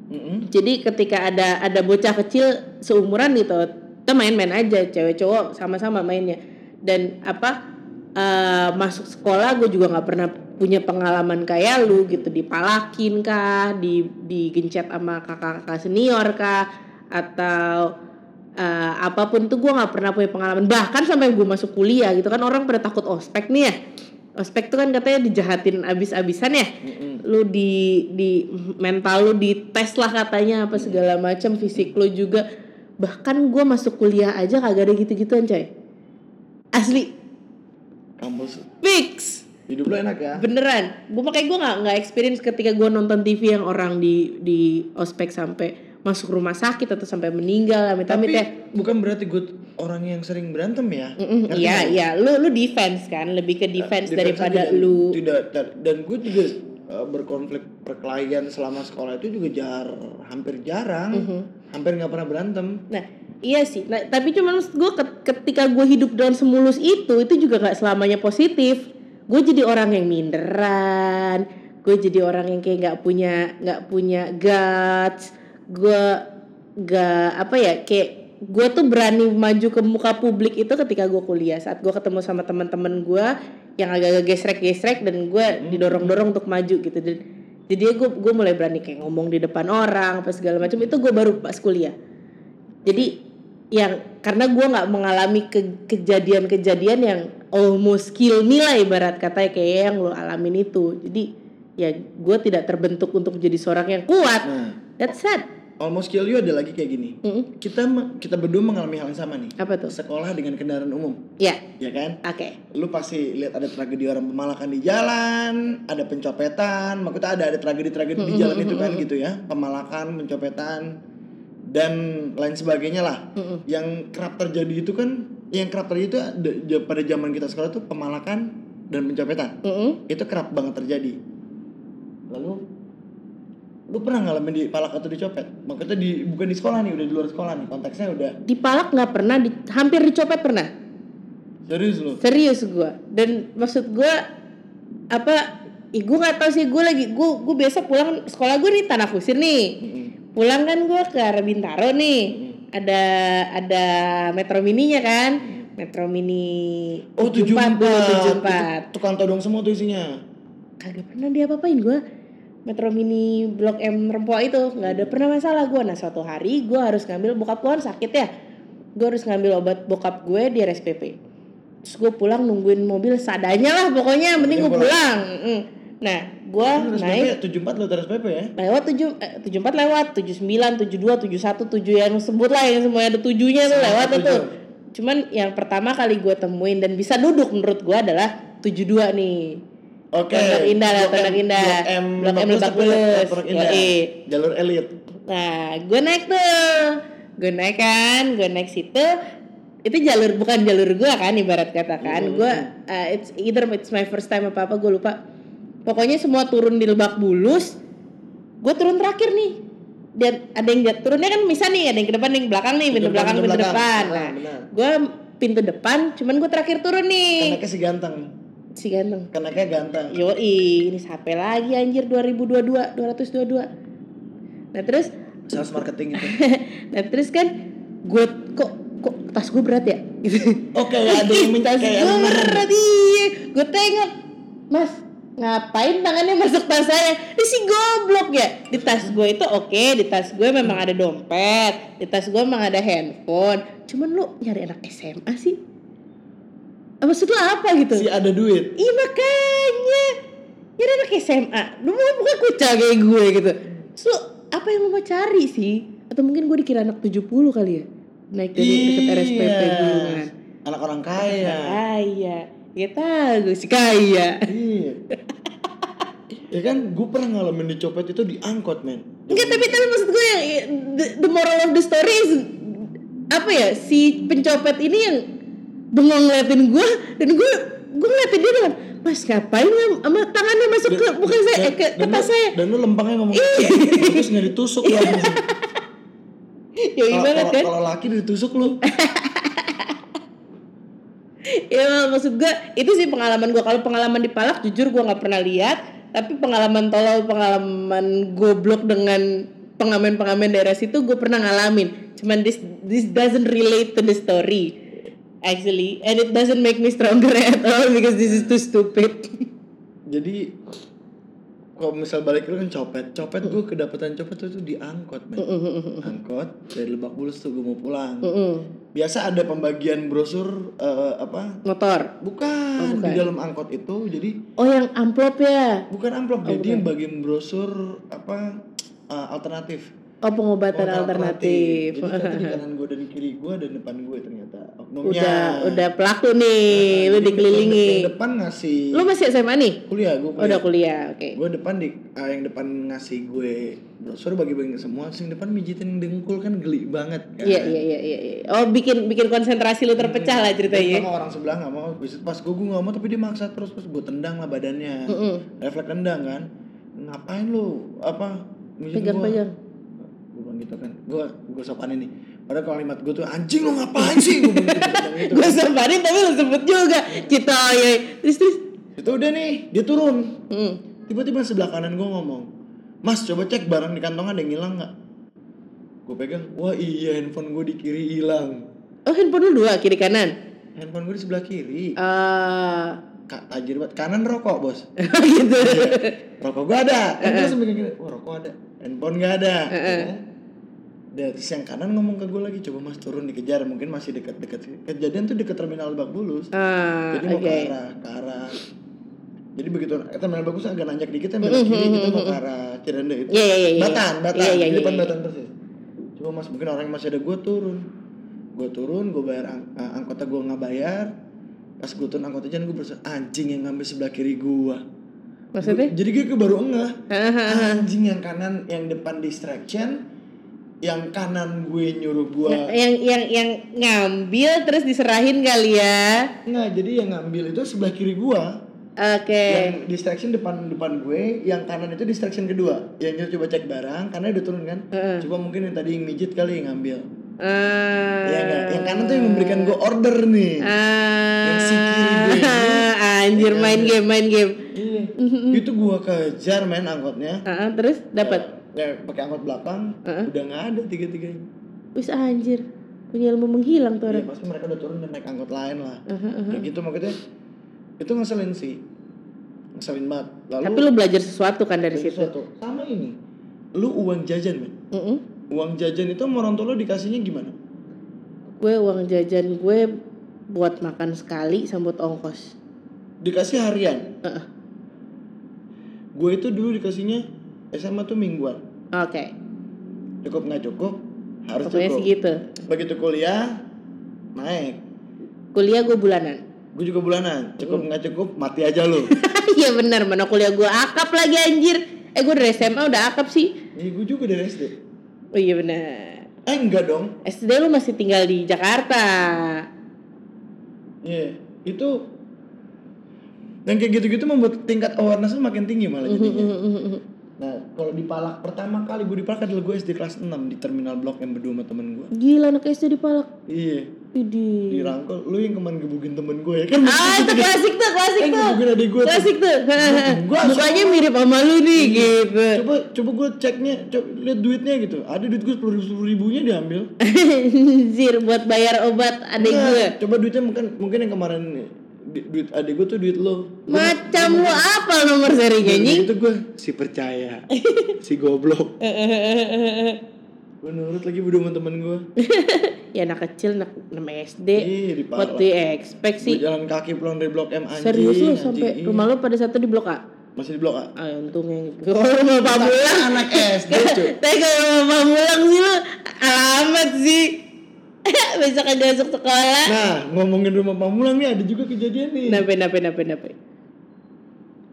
S2: Mm-mm.
S3: jadi ketika ada ada bocah kecil seumuran gitu kita main-main aja cewek cowok sama-sama mainnya dan apa eh, masuk sekolah gue juga nggak pernah punya pengalaman kayak lu gitu dipalakin kah di digencet sama kakak-kakak senior kah atau eh, apapun tuh gue nggak pernah punya pengalaman bahkan sampai gue masuk kuliah gitu kan orang pada takut ospek nih ya ospek tuh kan katanya dijahatin abis-abisan ya
S2: Mm-mm.
S3: lu di di mental lu dites lah katanya apa segala macam fisik lu juga bahkan gue masuk kuliah aja kagak ada gitu-gituan coy asli
S2: kampus
S3: fix
S2: hidup lu enak ya
S3: beneran gue makanya gue nggak nggak experience ketika gue nonton TV yang orang di di ospek sampai masuk rumah sakit atau sampai meninggal
S2: tapi
S3: amit-amit ya
S2: bukan berarti gue orang yang sering berantem ya
S3: Mm-mm,
S2: Ngerti
S3: iya
S2: nggak?
S3: iya lu lu defense kan lebih ke defense,
S2: aja
S3: daripada
S2: dan
S3: lu
S2: tidak dan- dan gue juga uh, berkonflik perkelahian selama sekolah itu juga jar hampir jarang
S3: Mhm. Mm-hmm.
S2: hampir nggak pernah berantem
S3: Nah, iya sih. Nah, tapi cuman gue ketika gue hidup dengan semulus itu, itu juga nggak selamanya positif. Gue jadi orang yang minderan. Gue jadi orang yang kayak nggak punya nggak punya guts. Gue gak apa ya kayak gue tuh berani maju ke muka publik itu ketika gue kuliah saat gue ketemu sama teman-teman gue yang agak-agak gesrek-gesrek dan gue didorong-dorong untuk maju gitu dan jadi gue gue mulai berani kayak ngomong di depan orang apa segala macam itu gue baru pas kuliah jadi yang karena gue nggak mengalami ke- kejadian-kejadian yang almost kill me lah ibarat kata ya, kayak yang lo alamin itu jadi ya gue tidak terbentuk untuk jadi seorang yang kuat
S2: nah
S3: that's sad
S2: almost kill you ada lagi kayak gini
S3: Mm-mm.
S2: kita me- kita berdua mengalami hal yang sama nih
S3: apa tuh
S2: sekolah dengan kendaraan umum
S3: ya
S2: ya kan
S3: oke
S2: lu pasti lihat ada tragedi orang pemalakan di jalan ada pencopetan maksudnya ada ada tragedi tragedi di jalan itu kan gitu ya pemalakan pencopetan dan lain sebagainya lah
S3: Mm-mm.
S2: yang kerap terjadi itu kan yang kerap terjadi itu ada- ja- pada zaman kita sekolah itu pemalakan dan pencopetan
S3: Mm-mm.
S2: itu kerap banget terjadi lalu lu pernah ngalamin dipalak atau dicopet maksudnya di bukan di sekolah nih udah di luar sekolah nih konteksnya udah
S3: dipalak nggak pernah di- hampir dicopet pernah
S2: serius lu
S3: serius gue dan maksud gue apa Ih, gue nggak tahu sih gue lagi gue gue biasa pulang sekolah gue di tanah kusir nih
S2: Mm-mm.
S3: pulang kan gue ke arah Bintaro nih
S2: Mm.
S3: ada ada metro mininya kan metro mini
S2: oh tujuh empat
S3: 74.
S2: tukang todong semua tuh isinya
S3: kagak pernah dia apa-apain gue metro mini blok M Rempoa itu nggak ada pernah masalah gue nah suatu hari gue harus ngambil bokap gue kan sakit ya gue harus ngambil obat bokap gue di RSPP terus gue pulang nungguin mobil seadanya lah pokoknya yang penting gue
S2: Penting pulang.
S3: pulang Mm. Nah, gue naik
S2: tujuh empat lo terus PP ya
S3: lewat tujuh eh, tujuh empat lewat tujuh sembilan tujuh dua tujuh satu tujuh yang sebut lah yang semuanya ada tujuhnya tuh
S2: Semua
S3: lewat
S2: tujuh.
S3: itu cuman yang pertama kali gue temuin dan bisa duduk menurut gue adalah tujuh dua nih
S2: Oke.
S3: Pondok Indah lah,
S2: Blok
S3: Pondok
S2: M-
S3: Indah.
S2: Blok M, Iya.
S3: Blok M
S2: Lebak Bulus,
S3: Lebak
S2: Pondok
S3: Bulus.
S2: Indah.
S3: Yoi.
S2: Jalur elit.
S3: Nah, gue naik tuh. Gue naik kan, gue naik situ. Itu jalur bukan jalur gue kan ibarat kata kan. Gue uh, it's either it's my first time apa apa gue lupa. Pokoknya semua turun di Lebak Bulus. Gue turun terakhir nih. Dan ada yang jat- turunnya kan bisa nih, ada yang ke depan, ada yang ke belakang nih,
S2: Pintu
S3: pintu belakang,
S2: depan,
S3: pintu
S2: pintu belakang.
S3: depan. Nah,
S2: Ah, benar.
S3: gue pintu depan, cuman gue terakhir turun nih.
S2: Kenaknya si ganteng.
S3: Si ganteng.
S2: Kenaknya ganteng.
S3: Yoi, ini siapa lagi anjir 2022, 222. Nah, terus
S2: Sales marketing itu.
S3: nah terus kan gue kok kok tas gue berat ya gitu
S2: Oke, ya ada yang minta
S3: tas
S2: kayak
S3: gue
S2: yang bener.
S3: berat iya gue tengok mas ngapain tangannya masuk tas saya ini si goblok ya di tas gue itu oke di tas gue memang ada dompet di tas gue memang ada handphone cuman lu nyari anak SMA sih maksud lu apa gitu
S2: Si ada duit.
S3: Iya makanya Nyari anak SMA Lu mau buka kucel kayak gue gitu So apa yang lu mau cari sih Atau mungkin gue dikira anak 70 kali ya Naik dari
S2: Iya.
S3: deket RSPP dulu kan
S2: Anak orang kaya.
S3: Kaya Ya tau gue sih kaya
S2: Iya. ya kan, gue pernah ngalamin dicopet itu di angkot, men.
S3: Enggak tapi tapi maksud gue yang the, the moral of the story is Apa ya si pencopet ini yang Bengong ngeliatin gue Dan gue gue ngeliatin dia dalam Mas ngapain sama- sama tangannya masuk ke
S2: Dan-
S3: bukan saya
S2: dan-
S3: eh, ke, ke
S2: dan lu-
S3: tas saya
S2: Dan lu lempangnya ngomong,
S3: Iya.
S2: terus nggak ditusuk lu. anjing."
S3: Yoi
S2: Kalau-
S3: banget
S2: kalau-
S3: kan
S2: Kalau laki ditusuk lu.
S3: Ya maksud gue itu sih pengalaman gue kalau pengalaman di Palak jujur gue nggak pernah lihat tapi pengalaman tolol pengalaman goblok dengan pengamen-pengamen daerah situ gue pernah ngalamin cuman this this doesn't relate to the story actually and it doesn't make me stronger at all because this is too stupid
S2: jadi kalau misal balik lu kan copet copet gue kedapetan copet tuh, tuh di angkot men angkot dari lebak bulus tuh gue mau pulang
S3: Mm-mm.
S2: biasa ada pembagian brosur eh, apa
S3: motor
S2: bukan,
S3: Oh, bukan.
S2: di dalam angkot itu jadi
S3: oh yang amplop ya
S2: bukan amplop jadi yang bagian brosur apa eh, alternatif
S3: oh pengobatan Iya.
S2: Jadi
S3: alternatif,
S2: ternyata di kanan gue dan kiri gue dan depan gue ternyata oknumnya
S3: udah udah pelaku nih
S2: Nah,
S3: lu
S2: jadi
S3: dikelilingi
S2: yang depan ngasih
S3: lu masih SMA nih
S2: kuliah gue
S3: Oh, udah kuliah oke
S2: gue depan di ah, yang depan ngasih gue brosur bagi bagi semua sing depan mijitin dengkul kan geli banget kan
S3: Iya iya iya iya. iya. Oh bikin bikin konsentrasi lu terpecah lah
S2: Terus
S3: ceritanya.
S2: sama orang sebelah nggak mau Habis itu pas gue gue nggak mau tapi dia maksa terus terus gue tendang lah badannya
S3: Mm-mm.
S2: refleks tendang kan ngapain lu apa mijitin
S3: Pegang
S2: gua.
S3: pegang.
S2: gue bilang gitu kan gue gue sopan ini padahal kalimat gue tuh anjing lu ngapain sih gue bilang gitu, bilang gitu.
S3: Gue sempatin tapi lu sebut juga. Cita ya. Terus terus.
S2: itu udah nih dia turun
S3: Hmm.
S2: tiba-tiba sebelah kanan gue ngomong mas coba cek barang di kantong ada yang hilang nggak gue pegang wah iya handphone gue di kiri hilang
S3: Oh handphone lu dua kiri kanan.
S2: handphone gue di sebelah kiri
S3: Ah
S2: kak tajir banget kanan rokok bos
S3: gitu.
S2: Iya. rokok gue ada kan gue langsung pegang kiri wah rokok ada handphone nggak ada Ya. Dan terus yang kanan ngomong ke gue lagi coba mas turun dikejar mungkin masih dekat-dekat sini." kejadian tuh deket terminal Lebak Bulus
S3: Ah
S2: jadi mau
S3: oke.
S2: ke arah ke arah jadi begitu eh, terminal bagus agak nanjak dikit kan belok kiri kita mau ke arah Cirende itu
S3: Iya, iya, iya, iya.
S2: batan batan
S3: Iya, iya,
S2: di depan
S3: iya, iya.
S2: batan persis cuma mas mungkin orang yang masih ada gue turun gue turun gue bayar ang- eh, angkotnya gue nggak bayar pas gue turun angkotnya jangan gue berasa anjing yang ngambil sebelah kiri gue
S3: Maksudnya?
S2: jadi gue baru ngeh
S3: Hahaha.
S2: anjing yang kanan yang depan distraction yang kanan gue nyuruh gue
S3: Yang yang yang ngambil terus diserahin kali ya.
S2: nggak jadi yang ngambil itu sebelah kiri gue
S3: Oke.
S2: yang distraction depan depan gue yang kanan itu distraction kedua yang nyuruh coba cek barang karena udah turun kan
S3: Heeh.
S2: coba mungkin yang tadi yang mijit kali yang ngambil
S3: Ah.
S2: ya nggak? yang kanan tuh yang memberikan gue order nih Yang si kiri gue ini.
S3: Ah, anjir main game main game.
S2: Iya. itu gue kejar main angkotnya
S3: Ah, terus dapat.
S2: ya, pakai angkot belakang udah nggak ada tiga tiganya
S3: Wis anjir. Punya ilmu menghilang tuh
S2: ya,
S3: orang.
S2: pasti mereka udah turun dan naik angkot lain lah Udah gitu makanya itu ngeselin sih ngeselin banget lalu
S3: Tapi lu belajar sesuatu kan dari
S2: ada
S3: situ.
S2: sesuatu. sama ini lu uang jajan men
S3: Mm-mm.
S2: uang jajan itu sama orang tua lu dikasihnya gimana
S3: Gue uang jajan gue buat makan sekali sambut ongkos.
S2: dikasih harian
S3: Heeh.
S2: gue itu dulu dikasihnya SMA tuh mingguan
S3: Oke.
S2: cukup nggak cukup harus
S3: Pokoknya
S2: cukup
S3: segitu.
S2: begitu kuliah naik
S3: Kuliah gue bulanan.
S2: gue juga bulanan
S3: Hmm.
S2: cukup nggak cukup mati aja lu
S3: Iya benar, mana kuliah gue akap lagi anjir. Eh gue dari SMA udah akap sih.
S2: Iya gue juga dari SD
S3: Oh iya benar.
S2: eh enggak dong
S3: SD lu masih tinggal di Jakarta.
S2: iya itu dan kayak gitu-gitu membuat tingkat awareness makin tinggi malah
S3: Hmm.
S2: jadinya nah kalau dipalak pertama kali gue dipalak adalah gue SD kelas 6 di terminal blok yang berdua sama temen gue
S3: Gila anak SD dipalak.
S2: iya
S3: Idi.
S2: dirangkul lu yang kemarin gebukin temen gue ya kan
S3: Ah itu klasik tuh, klasik
S2: Eh,
S3: tuh.
S2: gebukin adik gue tuh.
S3: Klasik tuh.
S2: Gua- Iya.
S3: Mukanya mirip sama lu nih gitu.
S2: coba coba gue ceknya coba lihat duitnya gitu ada duit gue sepuluh ribunya diambil
S3: Anjir buat bayar obat adik
S2: Nah,
S3: gue.
S2: coba duitnya mungkin mungkin yang kemarin di- duit adik gue tuh duit lo
S3: Macam lu apa nomor
S2: Iya.
S3: serinya nying?
S2: itu gue si percaya si
S3: Eh,
S2: goblok gue nurut lagi berdua sama temen gue
S3: ya anak kecil anak namanya SD.
S2: Ih, dipalak
S3: What do you expect
S2: gue
S3: sih?
S2: jalan kaki pulang dari blok M anjing
S3: ya, Serius lu
S2: anjing.
S3: sampai
S2: Iya.
S3: rumah lu pada satu di blok A?
S2: masih di blok A
S3: Ah, untungnya kalau rumah Pamulang
S2: anak SD cuy
S3: Tapi kalau rumah Pamulang sih lu alamat sih Besok aja masuk
S2: nah
S3: sekolah
S2: iya. ngomongin rumah pamulang nih ada juga kejadian nih
S3: Nape nape nape nape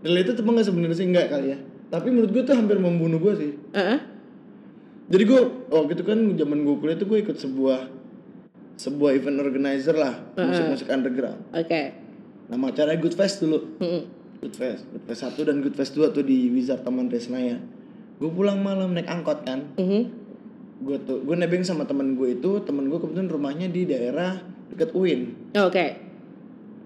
S2: related apa nggak sebenarnya sih nggak kali ya tapi menurut gue tuh hampir membunuh gue sih
S3: Heeh.
S2: jadi gue waktu itu kan zaman gue kuliah tuh gue ikut sebuah sebuah event organizer lah musik musik underground
S3: Oke
S2: nama acaranya Good Fest dulu
S3: Mm-mm.
S2: Good Fest Good Fest satu dan Good Fest 2 tuh di Wizard Taman Resnaya gue pulang malam naik angkot kan
S3: Mhm.
S2: gue tuh gue nebeng sama temen gue itu temen gue kebetulan rumahnya di daerah dekat UIN
S3: Oh, Oke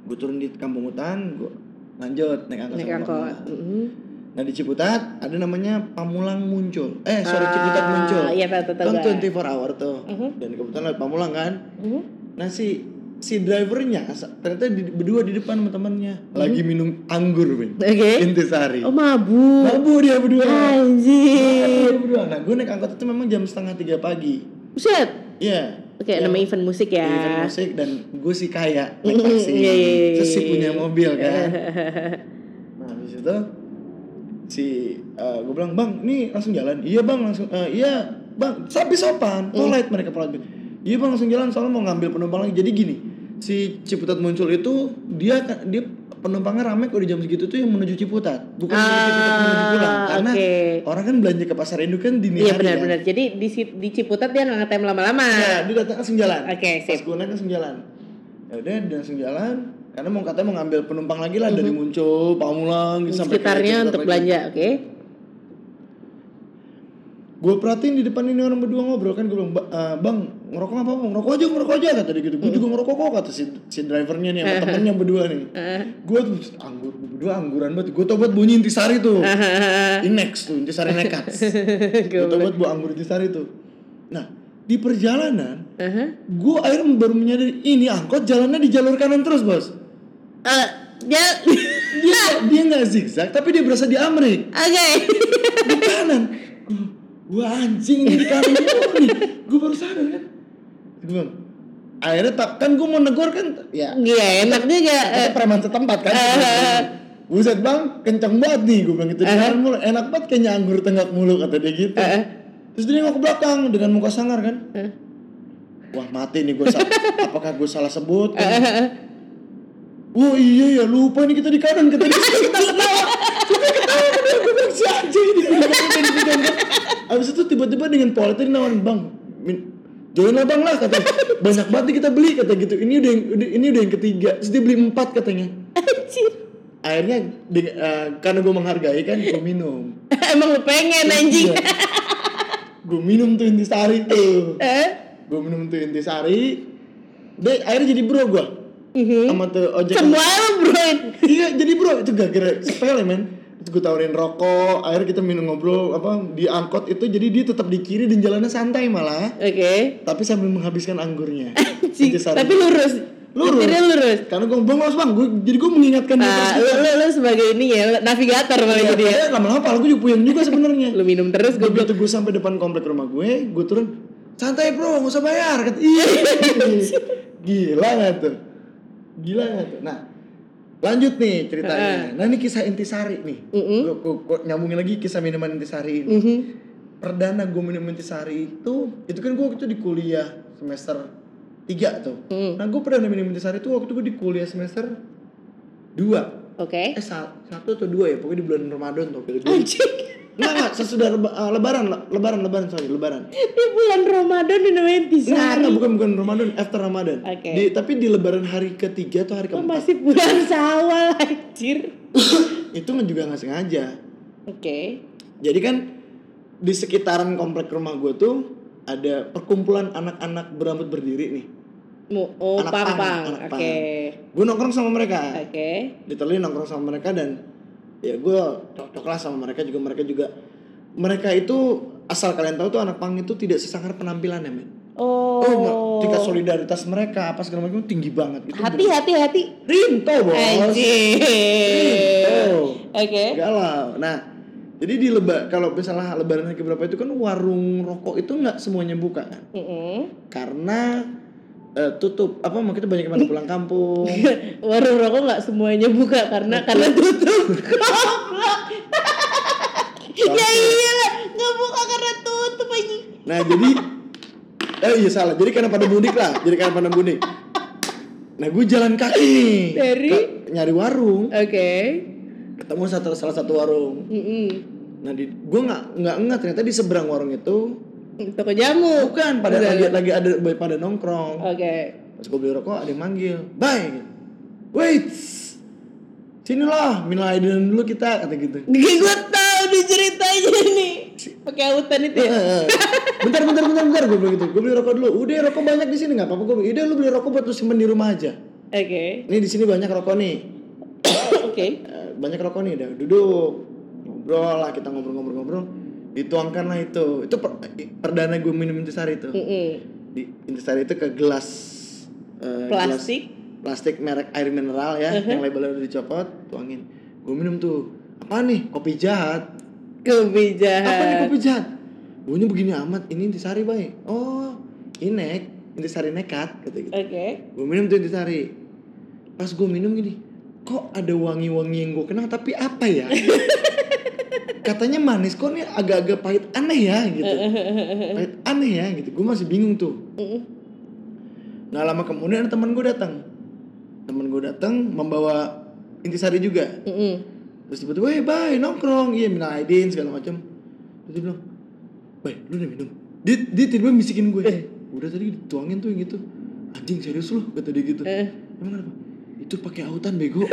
S2: gue turun di kampung hutan gue lanjut naik angkot
S3: Naik
S2: sama
S3: angkot
S2: pulang.
S3: Mhm.
S2: Nah di Ciputat ada namanya Pamulang Muncul. Eh sorry
S3: Ah,
S2: Ciputat Muncul.
S3: iya, Mm-hmm. tahu, tahu, tahu,
S2: Kan
S3: gua.
S2: 24 hour tuh. Dan kebetulan lewat Pamulang kan.
S3: Mhm.
S2: Nah si si drivernya sa- ternyata di- berdua di depan sama temannya lagi
S3: Mm-hmm.
S2: minum anggur men.
S3: Oke
S2: Intisari.
S3: Oh mabuk
S2: Mabuk ya. dia berdua. Mabuk
S3: Anjir
S2: dia berdua. Nah gue naik angkot itu memang jam setengah tiga pagi.
S3: Buset
S2: Iya.
S3: Oke nama event musik ya
S2: Event musik dan gue si kaya naik taksi. kan.
S3: Iya, iya, iya,
S2: Terus si
S3: iya.
S2: punya mobil kan. Nah, habis itu si gue bilang, "Bang, ini langsung jalan." "Iya, Bang, langsung." "Eh, iya, Bang, sapi
S3: Hmm.
S2: sopan. Polite mereka polite. "Iya, Bang, langsung jalan soalnya mau ngambil penumpang lagi." Jadi gini, si Ciputat muncul itu dia ka- dia penumpangnya rame udah jam segitu tuh yang menuju Ciputat, bukan dari Ciputat menuju pulang
S3: Ah,
S2: karena
S3: oke.
S2: orang kan belanja ke pasar induk kan dini hari kan.
S3: Iya benar-benar Jadi di, Ci- di Ciputat dia nggak ngetem lama-lama
S2: Nah, dia datang langsung jalan.
S3: Ah. Oke,
S2: Pas
S3: sip.
S2: gue naik langsung jalan. Ya udah, dia langsung jalan. Karena mau katanya mau ngambil penumpang lagi lah dari muncul, Pamulang,
S3: Mhm. Di
S2: gitu, sampai ke Ciputat
S3: sekitarnya untuk
S2: lagi.
S3: belanja Oke
S2: Gue perhatiin di depan ini orang berdua ngobrol kan gue bilang "Ba- eh, bang ngerokok apa bang ngerokok aja ngerokok aja kata dia gitu.
S3: Mhm.
S2: Gue juga ngerokok kok kata si si drivernya nih sama
S3: Eh.
S2: temennya berdua nih. Gue tuh anggur berdua angguran banget. Gue tau buat bunyi intisari
S3: Eh.
S2: tuh. Inex tuh intisari nekat. Gue tau buat buat anggur intisari tuh. Nah di perjalanan
S3: Aha.
S2: gue akhirnya baru menyadari ini angkot jalannya di jalur kanan terus bos.
S3: Eh, ya,
S2: Dia dia nggak zigzag tapi dia berasa di Amrik.
S3: oke.
S2: di kanan gue anjing ini di kanan mulu nih gue baru sadar kan gue bilang akhirnya tak kan gue mau negor kan ya
S3: Iya, enak juga. Eh,
S2: kata preman setempat kan gitu. Buset bang, kenceng banget nih Gue bilang gitu, di kanan mulu Enak banget kayaknya anggur tenggak mulu Kata dia gitu
S3: Eh.
S2: Terus dia nengok ke belakang Dengan muka sangar kan Wah mati nih gue Apakah gue salah sebut kan? Wah iya ya lupa nih kita di kanan kita di kita ketawa kita ketawa bener bener si anjing ini Gua bilang, "Bener, bener, bener." kan? Abis itu tiba-tiba dengan polite dia nawarin bang min- join lah bang lah kata banyak banget nih kita beli kata gitu ini udah yang udah- ini udah yang ketiga terus dia beli empat katanya
S3: Anjir.
S2: akhirnya di- eh, karena gue menghargai kan gue minum
S3: Emang lu
S2: Iya.
S3: pengen anjing.
S2: gue minum tuh intisari tuh
S3: Eh?
S2: gue minum tuh intisari deh akhirnya jadi bro gue
S3: Mhm.
S2: sama tuh ojek
S3: Semua lu bro.
S2: iya jadi bro itu gak gara sepele men Terus gue tawarin rokok akhirnya kita minum ngobrol apa di angkot itu jadi dia tetap di kiri dan jalannya santai malah
S3: Oke.
S2: tapi sambil menghabiskan anggurnya Itu
S3: Cik,
S2: saran.
S3: Tapi lurus.
S2: lurus
S3: Akhirnya lurus.
S2: karena gue bang harus bang gue jadi gue mengingatkan dia
S3: Nah,
S2: terus
S3: lu,
S2: gitu.
S3: lu, lu sebagai ini ya, navigator malah
S2: Iya,
S3: jadi ya.
S2: padahal lama-lama pala gue juga puyeng juga sebenarnya
S3: Lu minum terus gue
S2: begitu gue sampai depan komplek rumah gue gue turun santai bro nggak usah bayar kata iya gila nggak tuh gila nggak tuh nah Lanjut nih ceritanya.
S3: Heeh.
S2: Nah ini kisah intisari nih.
S3: Mm-mm.
S2: Gua- gua- gua nyambungin lagi kisah minuman intisari ini.
S3: Mhm.
S2: Perdana gue minum intisari itu, itu kan gue waktu itu di kuliah semester 3 tuh.
S3: Mm.
S2: Nah gue perdana minum intisari itu waktu gue di kuliah semester 2
S3: Oke.
S2: Eh sa- satu atau dua ya, pokoknya di bulan Ramadan tuh. Pokoknya dua.
S3: Anjing.
S2: Nggak, nggak, sesudah leba- eh, lebaran, le- lebaran, lebaran, sorry, lebaran.
S3: Di bulan Ramadan dinamain
S2: Nggak, nggak,
S3: Tisari.
S2: bukan, bukan Ramadan, after Ramadan.
S3: Oke.
S2: Di- tapi di lebaran hari ketiga atau hari
S3: Oh,
S2: keempat.
S3: masih bulan Syawal anjir.
S2: Itu nggak juga nggak sengaja.
S3: Oke.
S2: Jadi kan di sekitaran komplek rumah gue tuh ada perkumpulan anak-anak berambut berdiri nih.
S3: Mu oh
S2: Anak
S3: pang
S2: pang,
S3: pang.
S2: anak pang.
S3: Oke.
S2: Gue nongkrong sama mereka.
S3: Oke.
S2: Ditelin nongkrong sama mereka dan ya gue cocok lah sama mereka juga mereka juga mereka itu asal kalian tahu tuh anak pang itu tidak sesangar penampilannya men.
S3: Oh.
S2: Oh, ma- tingkat solidaritas mereka apa segala macam tinggi banget. Itu
S3: Hati hati hati.
S2: bener- Rinto bos.
S3: Anjir.
S2: Rinto.
S3: Oke.
S2: Galau. Nah, jadi di leba kalau misalnya lebaran hari keberapa itu kan warung rokok itu nggak semuanya buka kan?
S3: Mm-mm.
S2: Karena eh, tutup. Apa makanya banyak yang pada pulang kampung.
S3: Warung rokok nggak semuanya buka karena karena tutup. Goblok. ya iyalah, nggak buka karena tutup anjing.
S2: Nah, jadi eh iya salah. Jadi karena pada mudik lah. Jadi karena pada mudik. Nah, gue jalan kaki nih.
S3: Dari?
S2: Ke- nyari warung.
S3: Oke.
S2: Ketemu satu salah satu warung.
S3: Mm-mm.
S2: Nah, di gue nggak nggak nggak ternyata di seberang warung itu
S3: Toko jamu. Oke.
S2: bukan pada
S3: Udah.
S2: lagi lagi ada pada nongkrong. Pas gue beli rokok ada yang manggil Bye Wait Sinilah Minal Aidin dulu kita Kata gitu
S3: Gue tahu di ceritanya nih. Pakai autan itu ya.
S2: Iya. Bentar bentar bentar bentar Gue bilang gitu Gue beli rokok dulu Udah rokok banyak di sini nggak apa-apa Gue bilang Udah lu beli rokok buat lu simpen di rumah aja
S3: Oke.
S2: Nih di sini banyak rokok nih
S3: Oke.
S2: Eh, Banyak rokok nih Udah duduk Ngobrol lah Kita ngobrol-ngobrol-ngobrol Dituangkan lah itu Itu per- perdana gue minum intisari itu
S3: Mm-mm.
S2: di intisari itu ke gelas eh, gelas-
S3: Plastik.
S2: plastik merek air mineral ya yang labelnya udah dicopot tuangin gue minum tuh apa nih kopi jahat
S3: Eh.
S2: apa nih
S3: Kebijakan.
S2: kopi jahat bunyinya begini amat ini intisari bay oh inek intisari nekat kata gitu
S3: Oke.
S2: gue minum tuh intisari pas gue minum gini kok ada wangi-wangi yang gue kenal tapi apa ya katanya manis kok ini agak-agak pahit aneh ya gitu pahit aneh ya gitu gue masih bingung tuh
S3: Mm-mm.
S2: Nggak lama kemudian ada teman gue datang. Teman gue datang membawa intisari juga.
S3: Mm-mm.
S2: Terus tiba-tiba, "Weh, bye, nongkrong." Iya, minal aidin segala macam. Terus dia bilang, "Bay, lu udah minum?" Dia, dia tiba-tiba bisikin gue, "Eh, udah tadi dituangin tuh yang itu." Anjing serius lu kata dia gitu.
S3: Eh.
S2: Emang kenapa? Itu pakai autan bego. Gua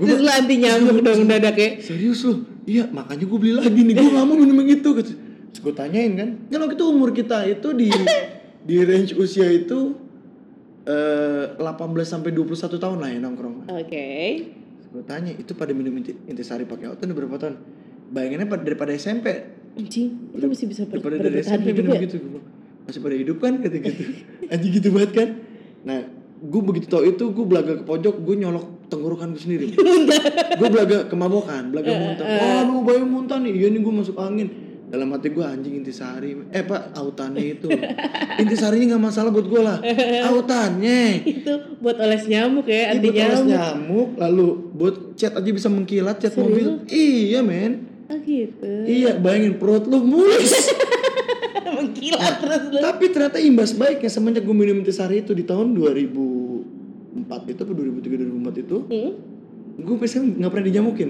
S3: Terus
S2: bilang,
S3: lu anti nyamuk dong dadak ya.
S2: serius lu iya makanya gue beli lagi nih gue gak mau minum yang itu gitu terus gue tanyain kan Eh. kan waktu itu umur kita itu di di range usia itu eh 18 sampai 21 tahun lah ya nongkrong
S3: Oke.
S2: Terus gue tanya itu pada minum inti, intisari pakai otot udah berapa tahun bayangannya pada daripada SMP
S3: Anjing, itu masih bisa ber-
S2: daripada
S3: ber-
S2: dari
S3: bertahan
S2: SMP
S3: hidup
S2: minum
S3: ya?
S2: gitu gue bilang, masih pada hidup kan kata gitu anjing gitu banget kan nah gue begitu tau itu gue belaga ke pojok gue nyolok tenggorokan gue sendiri gue belaga kemabukan
S3: Eh,
S2: belaga muntah wah lu bayu muntah nih iya nih gue masuk angin dalam hati gue anjing intisari eh pak autannya itu intisarinya nggak masalah buat gue lah autannya
S3: Itu buat oles nyamuk ya, anti
S2: Ibu nyamuk.
S3: nyamuk.
S2: nyamuk lalu buat cat aja bisa mengkilat cat
S3: Serius?
S2: mobil iya men
S3: Oh gitu.
S2: iya bayangin perut lu mulus
S3: Mengkilat terus lu.
S2: Tapi ternyata imbas baiknya semenjak gue minum intisari itu di tahun 2004 itu atau 2003 2004 itu
S3: Hmm?
S2: gue biasanya nggak pernah dijamukin.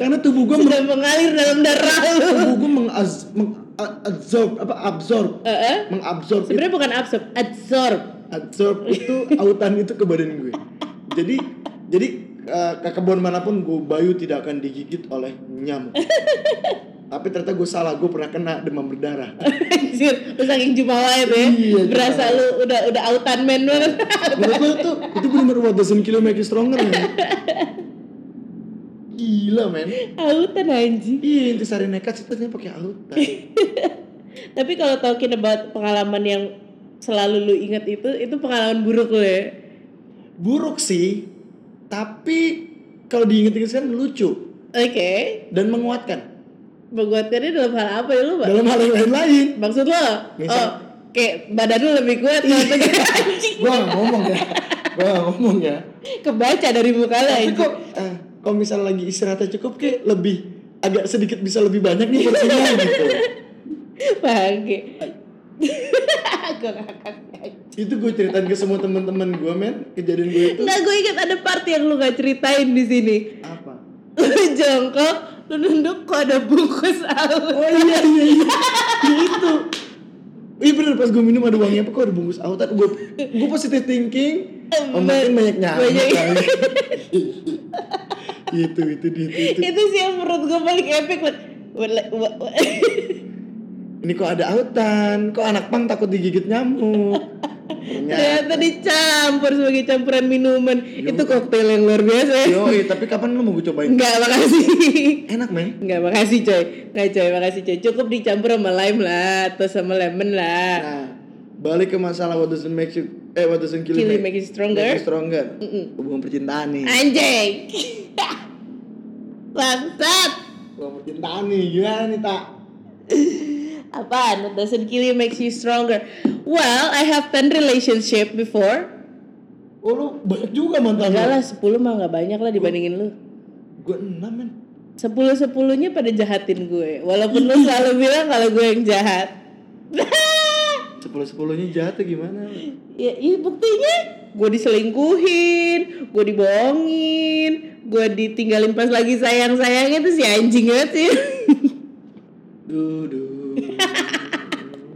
S2: Karena tubuh gue
S3: Sudah mengalir dalam darah lu.
S2: tubuh gue mengaz mengabsorb apa absorb
S3: Heeh.
S2: mengabsorb itu,
S3: Sebenarnya bukan absorb, adsorb.
S2: absorb itu autan itu ke badan gue. Jadi jadi eh, ke kebun manapun gue bayu tidak akan digigit oleh nyamuk. Tapi ternyata gue salah, gue pernah kena demam berdarah.
S3: Anjir, lu saking jumawa itu ya.
S2: Iya,
S3: Berasa
S2: jumawa.
S3: lu udah udah autan man banget.
S2: Menurut lo itu itu benar what doesn't kill you make you stronger men. Gila men.
S3: autan anjing.
S2: Iya intisari nekat sih ternyata pakai autan.
S3: Tapi kalau talking about pengalaman yang selalu lu inget itu, itu pengalaman buruk lu ya.
S2: Buruk sih, tapi kalau diinget-inget sekarang lucu
S3: Oke.
S2: dan menguatkan
S3: Menguatkannya dalam hal apa ya lu, Pak?
S2: dalam hal yang lain-lain.
S3: Maksud lo?
S2: Misal,
S3: oh, kayak badan lu lebih kuat ternyata kayak anjing
S2: Gua gak ngomong ya. Gua gak ngomong ya.
S3: kebaca dari muka lu
S2: Tapi
S3: anjing.
S2: kok eh, kalau misal lagi istirahatnya cukup kayak lebih agak sedikit bisa lebih banyak nih porsinya gitu.
S3: Bangke. gue ngakak.
S2: Itu gue ceritain ke semua teman-teman gue men kejadian gue itu
S3: Nah, gue ingat ada part yang lu gak ceritain di sini.
S2: apa?
S3: Lu jongkok, lu nunduk kok ada bungkus
S2: Oh
S3: alus.
S2: iya iya iya. Ya itu. Iya bener pas gue minum ada wangi apa kok ada bungkus autan gue gue positive thinking. Oh mungkin banyak nyamuk
S3: Banyak.
S2: kali. itu itu itu itu.
S3: Itu sih yang menurut gue paling epic. Wan. Wala- wa- wa-
S2: Ini kok ada autan, kok anak pang takut digigit nyamuk.
S3: Ternyata dicampur sebagai campuran minuman. Itu koktail yang luar biasa. ya.
S2: Yoi, tapi kapan lu mau gue cobain?
S3: Enggak, makasih.
S2: Enak men.
S3: Enggak, makasih coy. Enggak coy, makasih coy. Cukup dicampur sama lime lah, atau sama lemon lah.
S2: Nah, balik ke masalah what doesn't make you eh what doesn't kill,
S3: Kill
S2: you
S3: you make you stronger.
S2: Make you stronger. Hubungan percintaan nih.
S3: Anjing. Bangsat.
S2: Hubungan percintaan nih, gimana nih tak?
S3: Apaan? What doesn't kill you makes you stronger. Well, I have 10 relationship before.
S2: Oh lu banyak juga mantan
S3: Enggak
S2: lu.
S3: lah, 10 mah enggak banyak lah dibandingin lu.
S2: Gue enam men.
S3: 10-10-nya pada jahatin gue. Walaupun lu selalu bilang kalau gue yang jahat.
S2: Sepuluh sepuluhnya jatuh gimana?
S3: ya, iya buktinya gue diselingkuhin, gue dibohongin, gue ditinggalin pas lagi sayang sayangnya tuh si anjing banget sih.
S2: Duduh.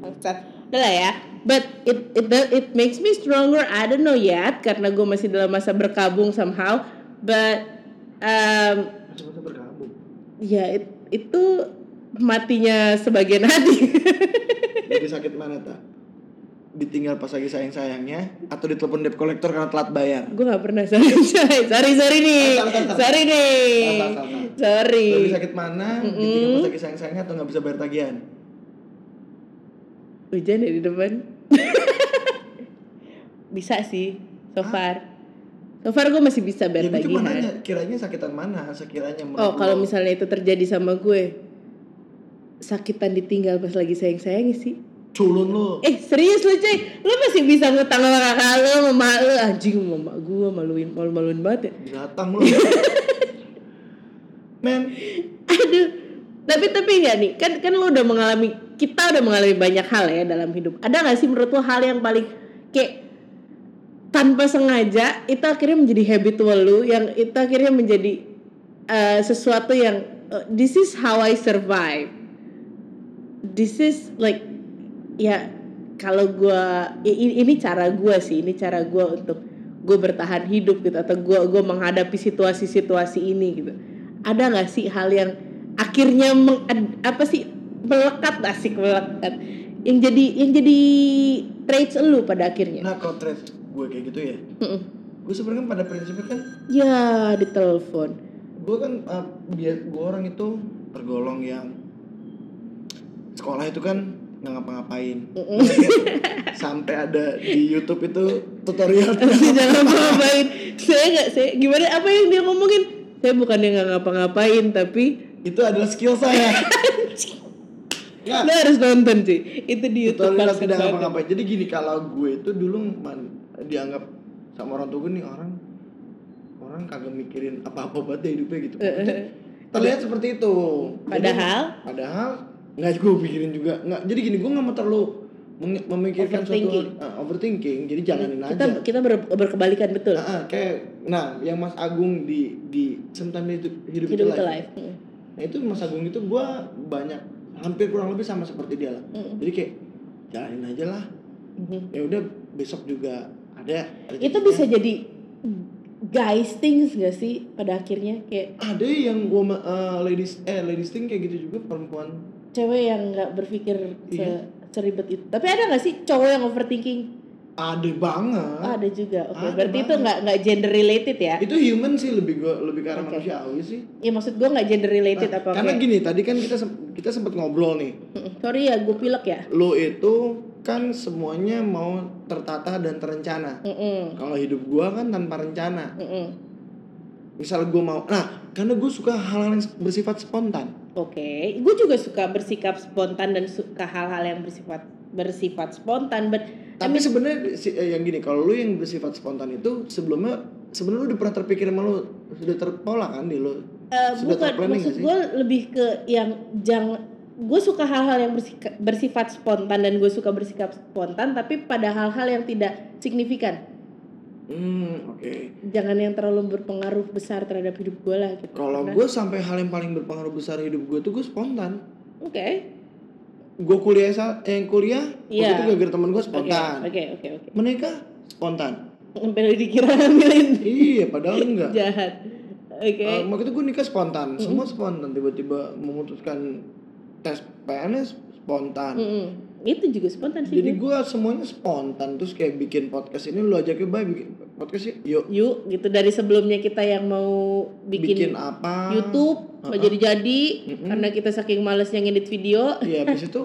S3: Bangsat. Udah lah ya. But it it it makes me stronger. I don't know yet karena gue masih dalam masa berkabung somehow. But um,
S2: Masa-masa berkabung.
S3: ya it- itu matinya sebagian hati.
S2: Lagi sakit mana tak? Ditinggal pas lagi sayang sayangnya atau ditelepon debt collector karena telat bayar.
S3: gue nggak pernah sorry coy. sorry sorry nih,
S2: Salah, salah, salah.
S3: sorry nih,
S2: Salah, salah, salah.
S3: sorry.
S2: Lebih sakit mana? Ditinggal pas lagi sayang sayangnya atau nggak bisa bayar tagihan?
S3: Hujan ya di depan. bisa sih, so far. So far gue masih bisa
S2: Ya
S3: bayar
S2: gue cuma nanya,
S3: tagihan.
S2: kiranya sakitan mana sekiranya menurut
S3: Oh, kalau
S2: lo?
S3: misalnya itu terjadi sama gue, sakitan ditinggal pas lagi sayang-sayangnya sih.
S2: culun lo
S3: Eh, serius lu, coy. Lu masih bisa ngutang sama kakak lu, sama mak lu. Anjing, sama mak gue maluin, malu-maluin banget ya.
S2: binatang lo men
S3: Aduh. Tapi tapi enggak nih, kan kan lu udah mengalami kita udah mengalami banyak hal ya dalam hidup. Ada nggak sih menurut lu hal yang paling kayak tanpa sengaja itu akhirnya menjadi habitual lu yang itu akhirnya menjadi eh, sesuatu yang eh, this is how I survive. This is like ya kalau gua i- i- ini cara gua sih, ini cara gua untuk gue bertahan hidup gitu atau gua gua menghadapi situasi-situasi ini gitu. Ada nggak sih hal yang akhirnya meng- ad- apa sih melekat asik melekat yang jadi yang jadi traits lu pada akhirnya.
S2: nah kontras gue kayak gitu ya
S3: Mm-mm.
S2: gue sebenarnya kan pada prinsipnya kan
S3: Ya, ditelepon.
S2: gue kan uh, biar gue orang itu tergolong yang sekolah itu kan nggak ngapa-ngapain sampai ada di YouTube itu tutorial
S3: Saya jangan ngapain. Saya nggak, saya gimana? Apa yang dia ngomongin? Saya bukan yang nggak ngapa-ngapain, tapi
S2: itu adalah skill saya Ya, Nggak,
S3: lo harus nonton sih. Itu di YouTube
S2: Tutorial
S3: kan, bangsat
S2: tidak
S3: banget.
S2: ngapa-ngapain. Jadi gini kalau gue itu dulu man- dianggap sama orang tua gue nih orang orang kagak mikirin apa-apa banget deh hidupnya gitu. Maksudnya, Terlihat seperti itu. Jadi,
S3: Eh, Padahal?
S2: padahal nggak gue pikirin juga nggak. Jadi gini gue nggak mau terlalu meng- memikirkan
S3: Overthinking.
S2: suatu ah, overthinking. Jadi jalanin
S3: Kita
S2: aja.
S3: kita ber- berkebalikan betul.
S2: Ah, ah, kayak nah yang Mas Agung di di sometimes hidup hidup, itu
S3: Hidup itu
S2: live.
S3: live. Mm.
S2: Nah itu Mas Agung itu gue banyak hampir kurang lebih sama seperti dia lah.
S3: Mm.
S2: Jadi kayak jalanin aja lah.
S3: Mhm.
S2: Ya udah besok juga ada.
S3: Itu bisa jadi guys things gak sih pada akhirnya kayak
S2: ada yang woman, eh, ladies eh ladies thing kayak gitu juga perempuan.
S3: cewek yang nggak berpikir se-
S2: Iya.
S3: seribet itu. Tapi ada nggak sih cowok yang overthinking?
S2: Ada banget.
S3: Oh, ada juga. Oke,
S2: Ada
S3: berarti itu
S2: banget.
S3: nggak nggak gender related ya?
S2: Itu human sih lebih gua lebih ke arah
S3: Oke.
S2: manusiawi sih.
S3: Ya maksud gue nggak gender related
S2: Nah,
S3: apa
S2: karena
S3: kayak-
S2: gini tadi kan kita sem- kita sempat ngobrol nih.
S3: Mm, Sorry ya, gue pilek ya.
S2: Lo itu kan semuanya mau tertata dan terencana.
S3: Mm-mm.
S2: Kalau hidup gua kan tanpa rencana.
S3: Mm-mm.
S2: misal gue mau nah karena gue suka hal-hal yang bersifat spontan
S3: Oke, gue juga suka bersikap spontan dan suka hal-hal yang bersifat bersifat spontan ber
S2: Tapi sebenarnya si- eh, yang gini, kalau lu yang bersifat spontan itu sebelumnya sebenarnya lu udah pernah terpikir sama lu sudah terpola kan di lu.
S3: Eh,
S2: sudah
S3: bukan
S2: terplanning
S3: maksud
S2: nggak sih?
S3: gue lebih ke yang jangan gue suka hal-hal yang bersika- bersifat spontan dan gue suka bersikap spontan tapi pada hal-hal yang tidak signifikan
S2: Hmm, oke.
S3: jangan yang terlalu berpengaruh besar terhadap hidup gue lah gitu
S2: Kalau
S3: Karena-
S2: gue sampai hal yang paling berpengaruh besar hidup gue tuh gue spontan.
S3: oke
S2: Gue kuliah sa- eh, kuliah
S3: Iya.
S2: waktu itu gara-gara temen gue
S3: oke
S2: spontan.
S3: oke oke
S2: Iya.
S3: oke
S2: Menikah spontan.
S3: sampai lu dikira milih
S2: iya, padahal enggak.
S3: jahat oke
S2: Eh, waktu itu gue nikah spontan, semua spontan. Tiba-tiba memutuskan tes PNS spontan.
S3: Mm-mm. itu juga spontan sih
S2: Jadi
S3: Ju.
S2: gue semuanya spontan terus kayak bikin podcast ini lu ajakin baik bikin podcast yuk. Yuk
S3: yuk gitu dari sebelumnya kita yang mau
S2: bikin,
S3: bikin,
S2: apa?
S3: YouTube mau
S2: Uh-uh.
S3: jadi-jadi
S2: Mm-mm.
S3: karena kita saking malesnya ngedit video
S2: Iya, habis itu.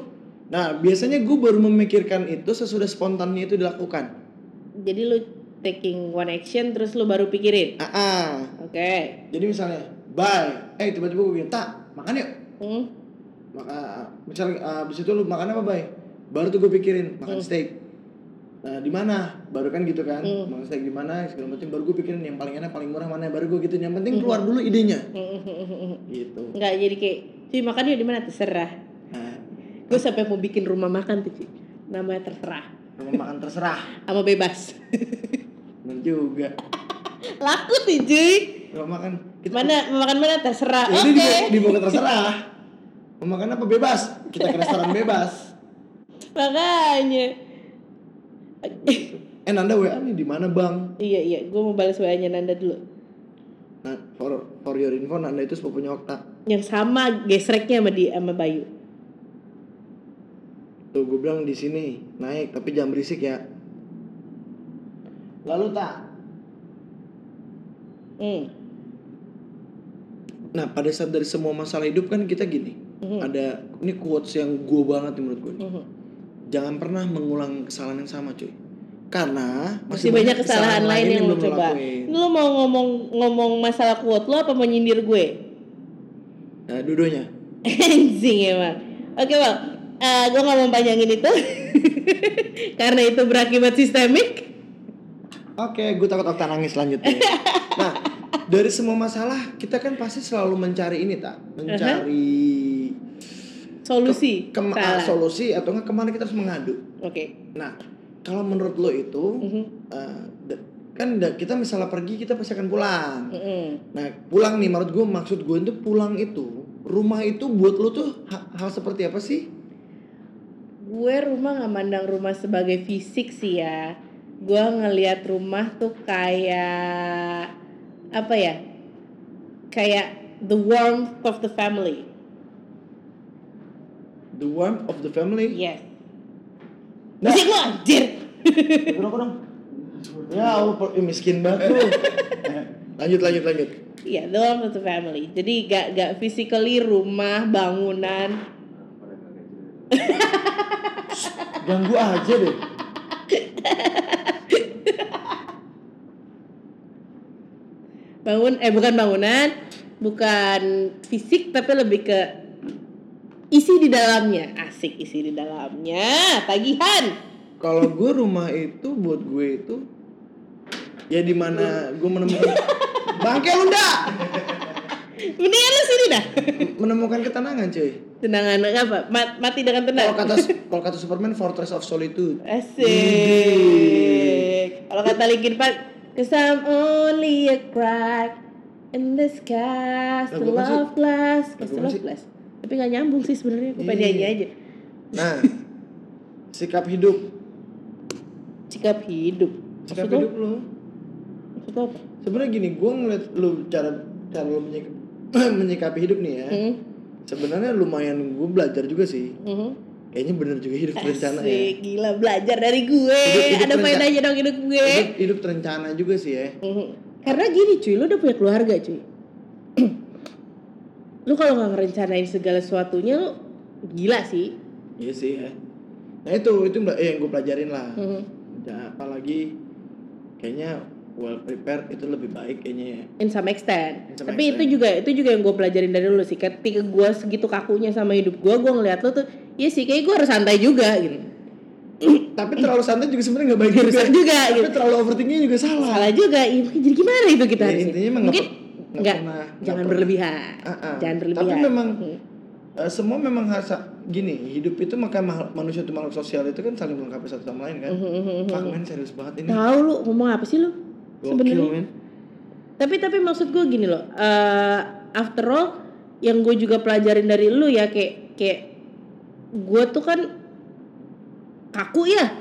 S2: Nah, biasanya gue baru memikirkan itu sesudah spontannya itu dilakukan.
S3: jadi lu taking one action terus lu baru pikirin
S2: Ah, ah.
S3: oke
S2: Jadi misalnya, bye. Eh, tiba-tiba gue bilang, tak, makan yuk.
S3: Hmm,
S2: Maka, misalnya ah, habis itu lu makan apa, bay? Baru tuh gue pikirin, makan steak. Nah, di mana? Baru kan gitu kan.
S3: Hmm.
S2: Makan steak di mana? Segala macam. Baru gue pikirin yang paling enak, paling murah mana. Baru gue gitu. Yang
S3: Hmm.
S2: penting keluar dulu idenya. Gitu.
S3: nggak jadi kayak cuy makan yuk di mana terserah
S2: Nah,
S3: gue sampai mau bikin rumah makan tuh cuy namanya terserah
S2: rumah makan terserah.
S3: sama bebas
S2: Bener juga.
S3: laku tuh cuy
S2: Rumah makan kita
S3: mana makan mana terserah
S2: Ya,
S3: oke
S2: ini dibawa, dibawa ke terserah. Mau makan apa bebas. Kita ke restoran bebas.
S3: makanya
S2: Eh Nanda WA nih di mana Bang?
S3: iya iya gue mau balas wa nya Nanda dulu
S2: Nah, for, for your info Nanda itu sepupunya Okta.
S3: yang sama gesreknya sama di sama Bayu
S2: Tuh gue bilang di sini naik tapi jangan berisik ya. Lalu tak.
S3: hmm.
S2: Nah pada saat dari semua masalah hidup kan kita gini.
S3: Mhm.
S2: Ada ini quotes yang gue banget nih menurut gue.
S3: Mhm.
S2: Jangan pernah mengulang kesalahan yang sama cuy. Karena
S3: masih banyak kesalahan, lain yang lo
S2: belum
S3: coba
S2: lakuin.
S3: Ini lo mau ngomong ngomong masalah quote lo apa mau nyindir gue
S2: Nah, dudonya.
S3: anjing emang oke bang Eh, gue nggak mau panjangin itu karena itu berakibat sistemik
S2: Oke, gue takut Okta nangis selanjutnya. nah, dari semua masalah kita kan pasti selalu mencari ini tak, mencari
S3: solusi
S2: kema- eh,
S3: salah oke
S2: solusi atau enggak kemana kita harus mengadu. Nah, kalau menurut lo itu
S3: Mhm.
S2: eh, da- kan da- kita misalnya pergi kita pasti akan pulang.
S3: Mm-mm.
S2: Nah, pulang nih menurut gue maksud gue itu pulang itu rumah itu buat lo tuh ha- hal seperti apa sih?
S3: gue rumah nggak mandang rumah sebagai fisik sih ya gue ngelihat rumah tuh kayak apa ya kayak the warmth of the family
S2: The warmth of the family.
S3: yes
S2: Nah.
S3: Iya. musik lo anjir
S2: Kurang kurang. Ya, Allah, per- ih, miskin banget lo. lanjut lanjut lanjut.
S3: Iya, the warmth of the family. Jadi gak gak physically rumah, bangunan.
S2: Ganggu aja deh.
S3: Bangun eh bukan bangunan, bukan fisik tapi lebih ke isi di dalamnya. Asik isi di dalamnya. Tagihan.
S2: Kalau gue rumah itu buat gue itu ya di mana gue menemukan bangke lu ndak
S3: Mendingan lu sini dah.
S2: menemukan ketenangan cuy.
S3: Tenangan apa? Ma- mati dengan tenang.
S2: Kalau kata kalau kata Superman Fortress of Solitude.
S3: Asik. Kalau kata Linkin Park, Cause I'm only a crack in the sky,
S2: Lagu
S3: still
S2: apa sih?
S3: loveless,
S2: Lagu
S3: still
S2: apa sih?
S3: loveless. Tapi gak nyambung sih sebenarnya, gue pengen
S2: Iya.
S3: nyanyi aja.
S2: Nah, sikap hidup,
S3: Sikap hidup.
S2: sikap
S3: Maksud lo-
S2: hidup lu.
S3: maksud lo apa?
S2: Sebenarnya gini, gue ngeliat lu cara cara lu menyik- menyikapi hidup nih ya.
S3: Hmm,
S2: Sebenarnya lumayan gue belajar juga sih.
S3: mhm.
S2: Kayaknya bener juga hidup terencana ya.
S3: Asik, gila belajar dari gue.
S2: Hidup- hidup
S3: Ada
S2: berencana.
S3: faedahnya dong hidup gue.
S2: Hidup, hidup terencana juga sih ya.
S3: Mhm. Karena gini cuy, lu udah punya keluarga cuy. lu kalau nggak ngerencanain segala sesuatunya lu gila sih.
S2: Iya sih ya. Nah itu itu mbak eh, yang gue pelajarin lah.
S3: Mhm.
S2: Ya, apalagi kayaknya well prepared itu lebih baik kayaknya ya.
S3: In some
S2: In
S3: extent.
S2: some
S3: Tapi
S2: extent.
S3: itu juga itu juga yang gue pelajarin dari lu sih. iya Ketika gue segitu kakunya sama hidup gue, gue ngeliat lu tuh, ya sih kayak gue harus santai juga gitu.
S2: tapi terlalu santai juga sebenarnya nggak baik juga.
S3: Rusak juga,
S2: tapi
S3: gitu.
S2: terlalu overthinkingnya juga salah
S3: salah juga iya, makanya jadi gimana itu kita
S2: Ya,
S3: harusnya?
S2: intinya emang nggak
S3: mungkin
S2: per- nggak
S3: nggak
S2: pernah- nggak
S3: jangan
S2: pernah.
S3: berlebihan
S2: Ah, ah.
S3: jangan
S2: Tapi
S3: berlebihan
S2: memang-
S3: Hmm.
S2: Eh, semua memang harus gini hidup itu maka mahal- manusia itu makhluk sosial itu kan saling melengkapi satu sama lain kan
S3: Mhm, mhm, mhm.
S2: Fuck, man, serius banget ini
S3: tahu lu ngomong apa sih lu
S2: gokil
S3: Nah, sebenarnya kan
S2: men
S3: tapi tapi maksud gue gini loh eh, after all yang gue juga pelajarin dari lu ya kayak kayak gue tuh kan kaku ya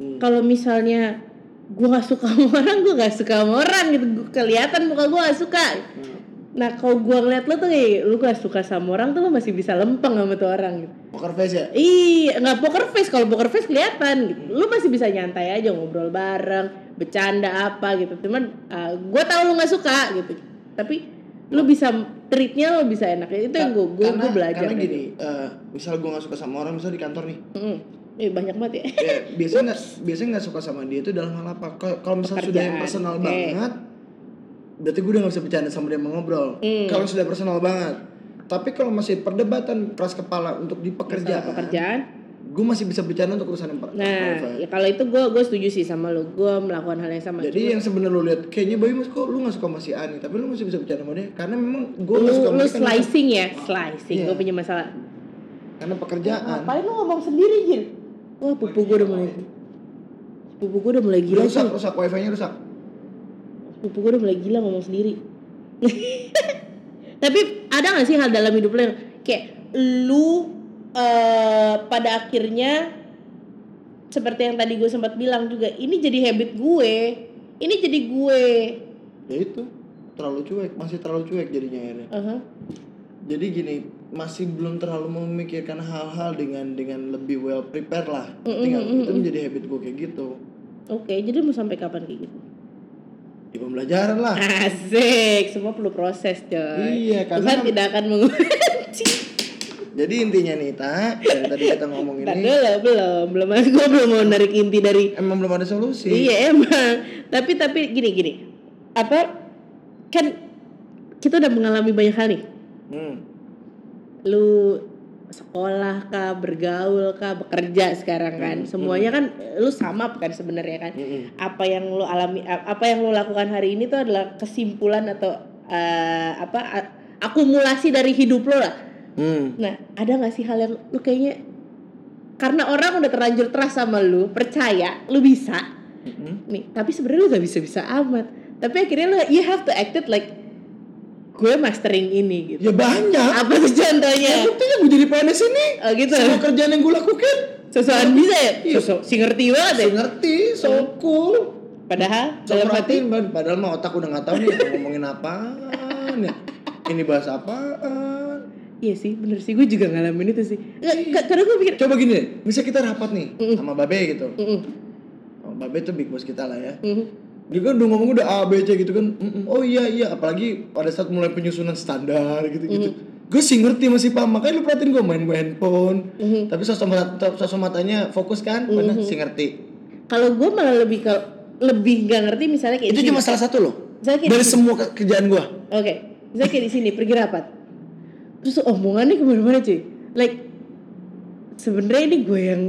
S2: Hmm.
S3: kalau misalnya gue gak suka sama orang gue gak suka sama orang gitu Gua- kelihatan muka gue gak suka nah kalau gue ngeliat lo tuh kayak lu gak suka sama orang tuh lo masih bisa lempeng sama tuh orang gitu
S2: poker face ya
S3: Iya, nggak poker face kalau poker face kelihatan gitu. Lu masih bisa nyantai aja ngobrol bareng, bercanda apa gitu. Cuman gue tahu lu nggak suka gitu. Tapi lu bisa treatnya lu bisa enak. Itu yang gue gue
S2: Karena-
S3: belajar.
S2: karena
S3: dari
S2: gini eh, misal gue nggak suka sama orang misal di kantor nih
S3: lu. Mm-mm. Eh, banyak banget ya.
S2: ya, biasanya nggak biasanya nggak suka sama dia itu dalam hal apa Kalau- kalau misal sudah yang
S3: Pekerjaan.
S2: personal
S3: Eh.
S2: banget berarti gue udah nggak bisa bercanda sama dia mau ngobrol
S3: Hmm.
S2: kalau sudah personal banget tapi kalau masih perdebatan keras kepala untuk di
S3: Masalah
S2: pekerjaan,
S3: pekerjaan.
S2: gue masih bisa bercanda untuk urusan yang per-
S3: Nah,
S2: private.
S3: ya kalau itu gue gue setuju sih sama lu. Gue melakukan hal yang sama.
S2: Jadi yang sebenarnya lu lihat kayaknya Bayu mas kok lu gak suka sama si Ani, tapi lu masih bisa bercanda sama dia karena memang gue
S3: lu,
S2: gak suka sama
S3: lu
S2: dia karena-
S3: slicing ya, slicing.
S2: Iya.
S3: Gue punya masalah.
S2: karena pekerjaan.
S3: Ngapain lu ngomong sendiri, Jin? Wah, pupu gue udah mulai. Pupu gue udah mulai
S2: Gila,
S3: gila
S2: rusak,
S3: tuh.
S2: rusak wifi-nya rusak.
S3: Pupu gue udah mulai gila ngomong sendiri. Tapi ada gak sih hal dalam hidup lo yang kayak lu eh, pada akhirnya seperti yang tadi gue sempat bilang juga ini jadi habit gue, ini jadi gue.
S2: Ya itu terlalu cuek, masih terlalu cuek jadinya akhirnya.
S3: Aha.
S2: Jadi gini, masih belum terlalu memikirkan hal-hal dengan dengan lebih well prepared lah. Tinggal itu menjadi habit gue kayak gitu.
S3: Oke, jadi mau sampai kapan kayak gitu?
S2: Ya pembelajaran
S3: Ah.
S2: lah.
S3: Asik, semua perlu proses coy.
S2: Iya, karena
S3: Tuhan tidak akan mengubah.
S2: Jadi intinya nih, Ta, yang tadi kita ngomong
S3: Ntar
S2: ini
S3: dulu, belum, belum, gue belum mau narik inti dari
S2: emang belum ada solusi.
S3: Iya emang. Tapi tapi gini gini. Apa kan kita udah mengalami banyak hal nih.
S2: Hmm.
S3: Lu sekolah kah, bergaul kah, bekerja sekarang kan. Semuanya kan eh, lu sama kan sebenarnya kan.
S2: Mm-mm.
S3: Apa yang lu alami a- apa yang lu lakukan hari ini tuh adalah kesimpulan atau eh, apa a- akumulasi dari hidup lo lah.
S2: Hmm.
S3: Nah, ada nggak sih hal yang lu kayaknya karena orang udah terlanjur trust sama lu, percaya lu bisa,
S2: Mm-mm.
S3: nih tapi sebenarnya lu gak bisa bisa amat tapi akhirnya lu you have to act it like gue mastering ini
S2: Ya
S3: gitu
S2: banyak.
S3: apa tuh
S2: Ya,
S3: contohnya
S2: buktinya gue jadi PNS ini
S3: oh gitu
S2: Semua kerjaan yang gue lakukan
S3: sesuatu bisa ya
S2: Iya.
S3: Sosok- si ngerti banget ya
S2: Saya ngerti, so cool
S3: padahal
S2: So
S3: dalam hati
S2: perhatiin, Ban. padahal mah otak udah gak tau nih mau ngomongin apaan ya Ini bahas apaan
S3: iya sih bener sih gue juga ngalamin itu sih
S2: Iya.
S3: Nggak, ka- karena gue pikir
S2: Coba gini deh, misalnya kita rapat nih
S3: Mm-mm.
S2: sama Babe gitu
S3: "Mm-mm,
S2: oh, Babe tuh big boss kita lah ya
S3: mm-mm."
S2: dia kan udah ngomong udah A, B, C gitu kan "Mm-mm, Oh iya, iya Apalagi pada saat mulai penyusunan standar gitu-gitu Gue sih ngerti masih paham Makanya lu perhatiin gue main gue handphone
S3: Mhm.
S2: Tapi sosok, mata, sosok matanya fokus kan Mana sih ngerti
S3: kalau gue malah lebih ke lebih gak ngerti misalnya kayak
S2: Itu
S3: di sini.
S2: cuma salah satu loh
S3: Misalnya kayak
S2: Dari
S3: di-
S2: semua ke- kerjaan gue
S3: Oke, misalnya kayak di sini pergi rapat. Terus omongannya kemana-mana cuy. Like sebenarnya ini gue yang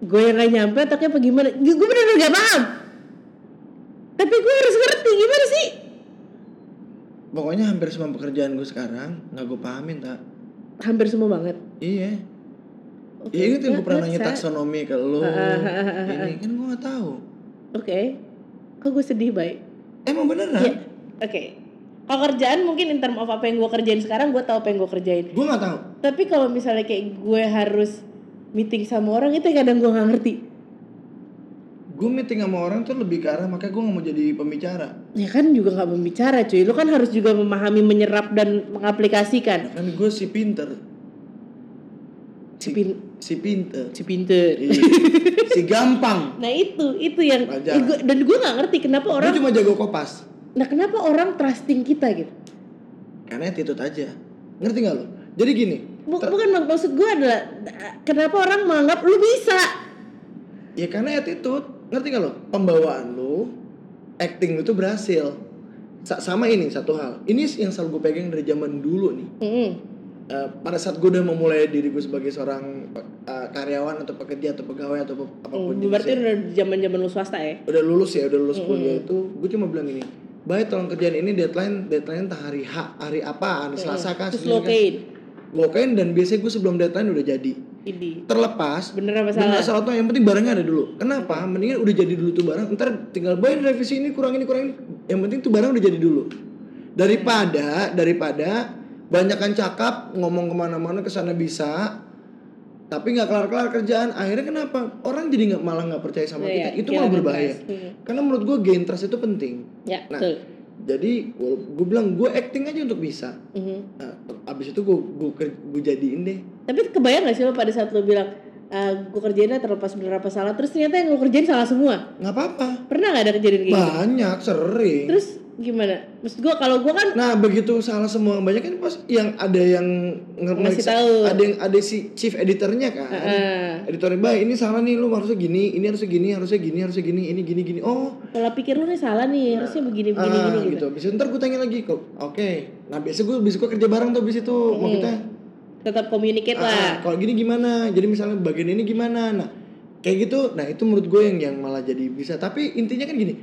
S3: gue yang gak nyampe otaknya apa gimana? Gue gue bener-bener gak paham. Tapi gue harus ngerti gimana sih?
S2: Pokoknya hampir semua pekerjaan gue sekarang nggak gue pahamin tak.
S3: Hampir semua banget.
S2: Iya.
S3: Oke,
S2: Ya itu yang gue
S3: nggak-
S2: pernah
S3: nggak
S2: nanya
S3: bisa.
S2: taksonomi ke lo.
S3: Ah, ah, ah, ah, ah.
S2: Ini kan gue nggak tahu.
S3: Oke. Kok gue sedih baik?
S2: Emang beneran?
S3: Iya. Oke. Kalau kerjaan mungkin in term of apa yang gue kerjain sekarang gue tahu apa yang gue kerjain.
S2: Gue nggak tahu.
S3: Tapi kalau misalnya kayak gue harus meeting sama orang itu yang kadang gue gak ngerti.
S2: Gue meeting sama orang tuh lebih ke arah makanya gue nggak mau jadi pembicara.
S3: Ya kan juga nggak membicara cuy, lu kan harus juga memahami, menyerap dan
S2: Nah,
S3: mengaplikasikan.
S2: kan gue si pinter,
S3: Si, pin,
S2: si pinter,
S3: si pinter.
S2: Iya. si gampang.
S3: Nah itu, itu yang
S2: Wajar.
S3: eh, gua- dan gue nggak ngerti kenapa
S2: Gue
S3: orang,
S2: cuma jago kopas.
S3: nah kenapa orang trusting kita gitu.
S2: Karena attitude aja. Ngerti nggak lo? Jadi gini.
S3: Bu-
S2: ter-
S3: bukan mak- maksud gue adalah eh, kenapa orang menganggap lu bisa.
S2: Ya karena attitude, ngerti gak lo? Pembawaan lo, acting lo tuh berhasil. Sa- sama ini satu hal. Ini yang selalu gue pegang dari zaman dulu nih.
S3: Mm-mm.
S2: eh, pada saat gue udah memulai diriku sebagai seorang eh, karyawan atau pekerja atau pegawai atau apapun
S3: Hmm, berarti
S2: jenisnya.
S3: udah zaman-zaman lu swasta ya?
S2: udah lulus ya udah lulus kuliah itu gue cuma bilang gini baik tolong kerjaan ini deadline deadline entah hari H hari apa hari Selasa kan, iya kah
S3: Terus
S2: Senin kah?"
S3: locate.
S2: Lokain dan biasanya gue sebelum deadline udah jadi
S3: Ini.
S2: terlepas
S3: Bener apa
S2: benar
S3: salah?
S2: salah tuh yang penting barangnya ada dulu kenapa mendingan udah jadi dulu tuh barang ntar tinggal bayarin revisi ini kurang ini kurang ini yang penting tuh barang udah jadi dulu daripada daripada banyakan cakap ngomong kemana-mana kesana bisa tapi nggak kelar-kelar kerjaan akhirnya kenapa orang jadi nggak malah nggak percaya sama kita
S3: Iya,
S2: itu
S3: iya,
S2: malah
S3: bener.
S2: berbahaya
S3: Hmm.
S2: karena menurut gue gain trust itu penting
S3: Ya,
S2: Nah.
S3: betul.
S2: jadi gue bilang gue acting aja untuk bisa
S3: Mhm.
S2: nah, abis itu gue gue gue jadiin deh
S3: Tapi kebayang gak sih lo pada saat lo bilang gue kerjainnya terlepas bener apa salah terus ternyata yang lo kerjain salah semua
S2: nggak apa-apa
S3: pernah gak ada kejadian kayak gitu?
S2: banyak sering
S3: terus gimana? maksud gue kalau gue kan
S2: Nah begitu salah semua banyak kan pas yang ada yang nge-
S3: Ngasih
S2: meriksa-
S3: tahu.
S2: ada yang ada si chief editornya kan,
S3: Heeh.
S2: editornya baik ini salah nih lu harusnya gini, ini harusnya gini, harusnya gini, harusnya gini, ini gini gini, oh
S3: pola pikir lu nih salah nih harusnya begini begini
S2: ah,
S3: gini gitu.
S2: gitu. Bisa ntar gue tanya lagi kok, oke. Nah biasa gue bisa gue kerja bareng tuh abis itu maksudnya.
S3: tetap communicate lah
S2: ah, kalau gini gimana? Jadi misalnya bagian ini gimana? Nah kayak gitu, nah itu menurut gue yang yang malah jadi bisa. Tapi intinya kan gini,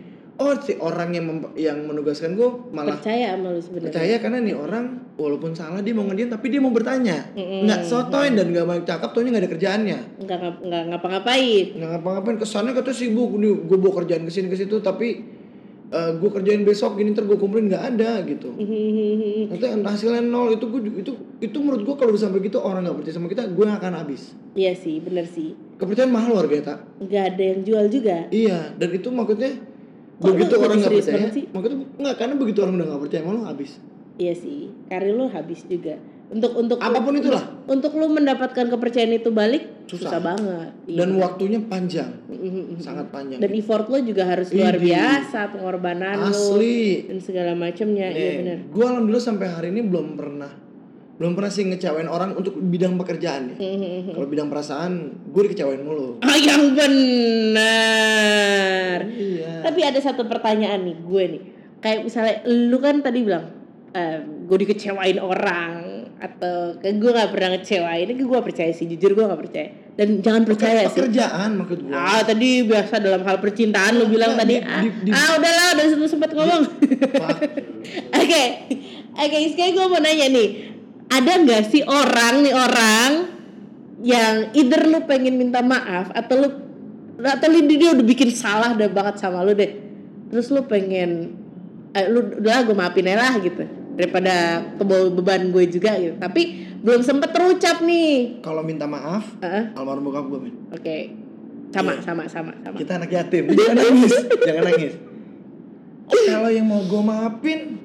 S2: oh si orang yang mem- yang menugaskan gue malah
S3: percaya sama lu sebenarnya
S2: percaya karena nih orang walaupun salah dia mau ngedian tapi dia mau bertanya
S3: Mm-mm.
S2: nggak sotoin dan nggak mau cakap tuh nggak ada kerjaannya
S3: nggak ngap- nggak ngapa-ngapain
S2: nggak ngapa-ngapain kesannya kata sibuk nih gue bawa kerjaan kesini ke situ tapi eh, gue kerjain besok gini ntar gue kumpulin nggak ada gitu
S3: Mm-hmm,
S2: nanti hasilnya nol itu gue itu itu menurut gue kalau sampai gitu orang nggak percaya sama kita gue akan habis
S3: iya sih bener sih
S2: kepercayaan mahal warga tak
S3: nggak ada yang jual juga
S2: iya dan itu maksudnya
S3: Kok lu
S2: begitu
S3: jadi
S2: orang nggak
S3: serius
S2: percaya
S3: banget sih?
S2: maksudnya nggak karena begitu orang udah nggak percaya malu habis
S3: iya sih karir lu habis juga untuk untuk
S2: apapun itulah
S3: untuk lu mendapatkan kepercayaan itu balik susah,
S2: Susah.
S3: banget Iya.
S2: dan waktunya panjang
S3: Mhm.
S2: sangat panjang
S3: dan effort lo juga harus luar
S2: Widih.
S3: biasa pengorbanan
S2: Iya.
S3: lo
S2: asli
S3: dan segala macamnya iya bener
S2: gue alhamdulillah sampai hari ini belum pernah belum pernah sih ngecewain orang untuk bidang pekerjaan ya
S3: Mhm.
S2: kalau bidang perasaan gue dikecewain mulu
S3: Ah, yang benar.
S2: iya
S3: Tapi ada satu pertanyaan nih gue nih. Kayak misalnya lu kan tadi bilang ehm, gue dikecewain orang atau kayak gue nggak pernah ngecewain. Ini gue percaya sih, jujur gue nggak percaya. Dan jangan percaya sih.
S2: pekerjaan maksud gue
S3: Ah tadi biasa dalam hal percintaan lu bilang
S2: Enggak,
S3: tadi
S2: Iya, di-
S3: ah,
S2: di- di-
S3: ah udahlah udah sempat sempat ngomong.
S2: Fuck.
S3: Oke, oke sekarang gue mau nanya nih, ada nggak sih orang nih orang yang either lu pengen minta maaf atau lu atau lu dia udah bikin salah udah banget sama lu deh, terus lu pengen eh, lu udah gue maafin aja lah gitu daripada kebawa beban gue juga gitu, tapi belum sempet terucap nih.
S2: kalau minta maaf
S3: Heeh,
S2: almarhum bokap gue men
S3: oke, sama,
S2: Iya.
S3: sama sama sama.
S2: kita anak yatim jangan nangis jangan nangis Oh, kalau yang mau gue maafin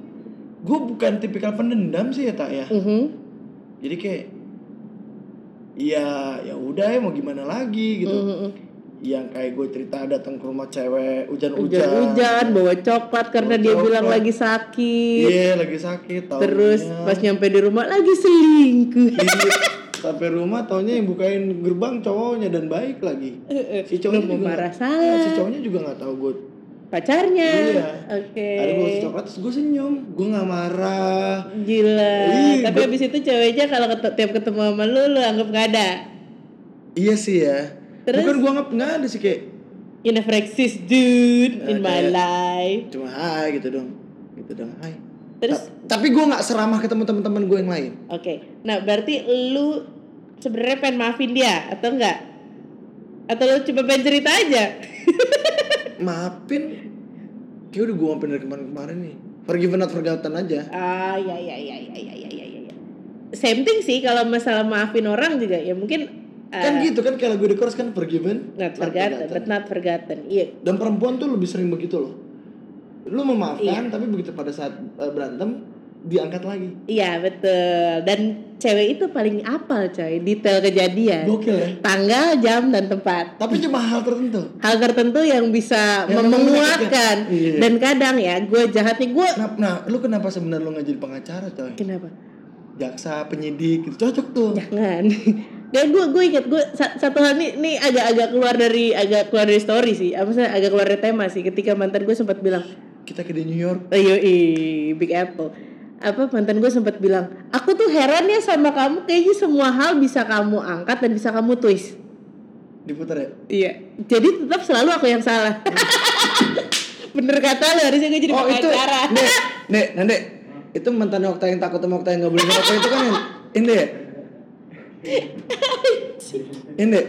S2: gue bukan tipikal pendendam sih ya tak ya
S3: Mhm.
S2: jadi kayak ya ya udah ya mau gimana lagi gitu
S3: Mhm.
S2: yang kayak gue cerita datang ke rumah cewek hujan-hujan
S3: Hujan-hujan bawa coklat karena
S2: Bawa
S3: dia
S2: coklat.
S3: bilang lagi sakit.
S2: iya lagi sakit taunya.
S3: Terus pas nyampe di rumah lagi selingkuh.
S2: Iya, sampai rumah taunya yang bukain gerbang cowoknya dan baik lagi Iya, si cowoknya
S3: Lu mau
S2: juga
S3: marah
S2: nggak- Iya,
S3: salah.
S2: si cowoknya juga nggak tahu gue
S3: Pacarnya.
S2: Iya.
S3: Oke.
S2: ada gue kasih coklat terus gue senyum gue nggak marah
S3: Gila.
S2: Ih,
S3: Tapi
S2: bet-
S3: abis itu ceweknya kalau ket- tiap ketemu sama lu lu anggap gak ada.
S2: iya sih ya
S3: Terus?
S2: bukan gue nggak nggak ada sih kayak
S3: You never exist dude in
S2: Nah,
S3: my
S2: kayak-
S3: life.
S2: cuma hai gitu dong gitu dong hai
S3: Terus
S2: Ta- tapi gue nggak seramah ke teman-teman gue yang lain
S3: oke. Nah, berarti lu sebenarnya pengen maafin dia atau enggak? Atau lu cuma pengen cerita aja?
S2: maafin kayak udah gue maafin dari kemarin-kemarin nih forgiven not forgotten aja
S3: Ah,
S2: iya,
S3: ya ya ya ya ya ya ya ya. ya. Same thing sih kalau masalah maafin orang juga ya mungkin eh,
S2: kan gitu kan kalau gue di chorus kan forgiven
S3: not forgotten, but not forgotten. Iya.
S2: dan perempuan tuh lebih sering begitu loh lu memaafkan tapi begitu pada saat eh, berantem diangkat lagi
S3: Iya, betul. Dan cewek itu paling apal, coy, detail kejadian.
S2: gokil ya
S3: Tanggal, jam dan tempat.
S2: tapi cuma hal tertentu
S3: Hal tertentu yang bisa
S2: Yang
S3: memenguatkan
S2: memudahkan. Iya.
S3: dan kadang ya gue jahat nih gue
S2: nah, nah lu kenapa sebenarnya lu nggak jadi pengacara coy
S3: kenapa?
S2: jaksa penyidik gitu cocok tuh
S3: Jangan. Dan gue gue inget gue sa- satu hal nih nih agak-agak keluar dari agak keluar dari story sih. Apa sih agak keluar dari tema sih ketika mantan gue sempat bilang
S2: kita ke di New York
S3: Oh, Yoi, Big Apple. apa mantan gue sempat bilang aku tuh heran ya sama kamu kayaknya semua hal bisa kamu angkat dan bisa kamu twist
S2: diputar ya
S3: iya jadi tetap selalu aku yang salah bener kata lo harusnya gue jadi
S2: oh itu
S3: pengacara
S2: nek nek nande itu mantan Okta yang takut sama Okta yang nggak boleh ngerokok itu kan yang ini ya ini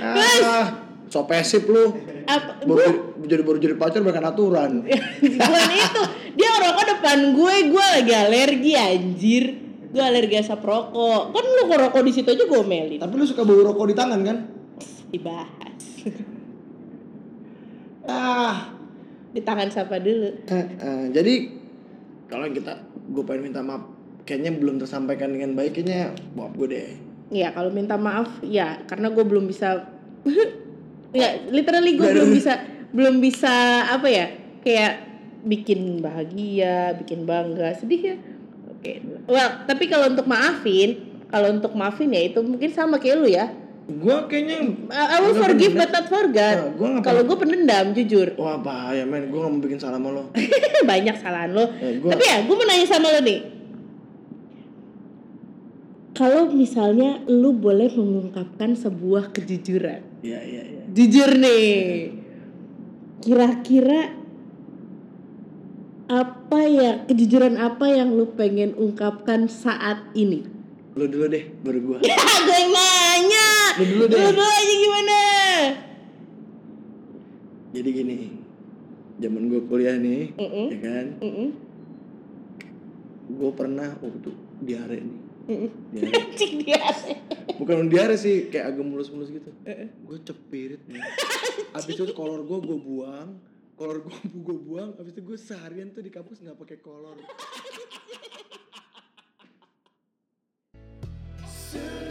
S2: ah sopesip lu
S3: apa
S2: baru jadi- jadi baru jadi pacar bahkan aturan
S3: Bukan itu Dia ngerokok depan gue Gue lagi alergi anjir Gue alergi asap rokok Kan lu ngerokok di situ aja gue melin
S2: tapi lu suka bau rokok di tangan kan
S3: Dibahas
S2: ah
S3: Di tangan siapa dulu
S2: Eh, eh, jadi kalau yang kita gue pengen minta maaf kayaknya belum tersampaikan dengan baik kayaknya maaf gue deh
S3: Ya kalau minta maaf Ya karena gue belum bisa Ya literally gue
S2: Nggak
S3: belum
S2: ada.
S3: bisa Belum bisa apa ya Kayak bikin bahagia Bikin bangga Sedih ya Oke Well tapi kalau untuk maafin Kalau untuk maafin ya itu mungkin sama kayak lu ya
S2: gue kayaknya
S3: I I
S2: Lu
S3: will forgive
S2: pendendam.
S3: but not forget.
S2: Nah, gua nggak
S3: Kan? Kalau gue pendendam jujur
S2: wah bahaya men gue gak mau bikin salah sama lo
S3: banyak salahan lo.
S2: Eh, gua-
S3: Tapi ya gue mau nanya sama lo nih. Kalau misalnya lu boleh mengungkapkan sebuah kejujuran,
S2: iya iya iya
S3: jujur nih, kira-kira apa ya kejujuran apa yang lu pengen ungkapkan saat ini?
S2: lo dulu deh baru gue
S3: Ah, gue yang nanya.
S2: Lu dulu deh.
S3: Lu dulu aja gimana?
S2: jadi gini zaman gue kuliah nih
S3: Mm-mm.
S2: ya kan
S3: Mm-mm.
S2: gue pernah waktu diare nih
S3: Mm-mm.
S2: diare
S3: Cik dia.
S2: bukan diare sih kayak agak mulus-mulus gitu gue cepirit nih abis itu kolor gue gue buang kolor gue gue buang abis itu gue seharian tuh di kampus nggak pakai kolor
S1: Soon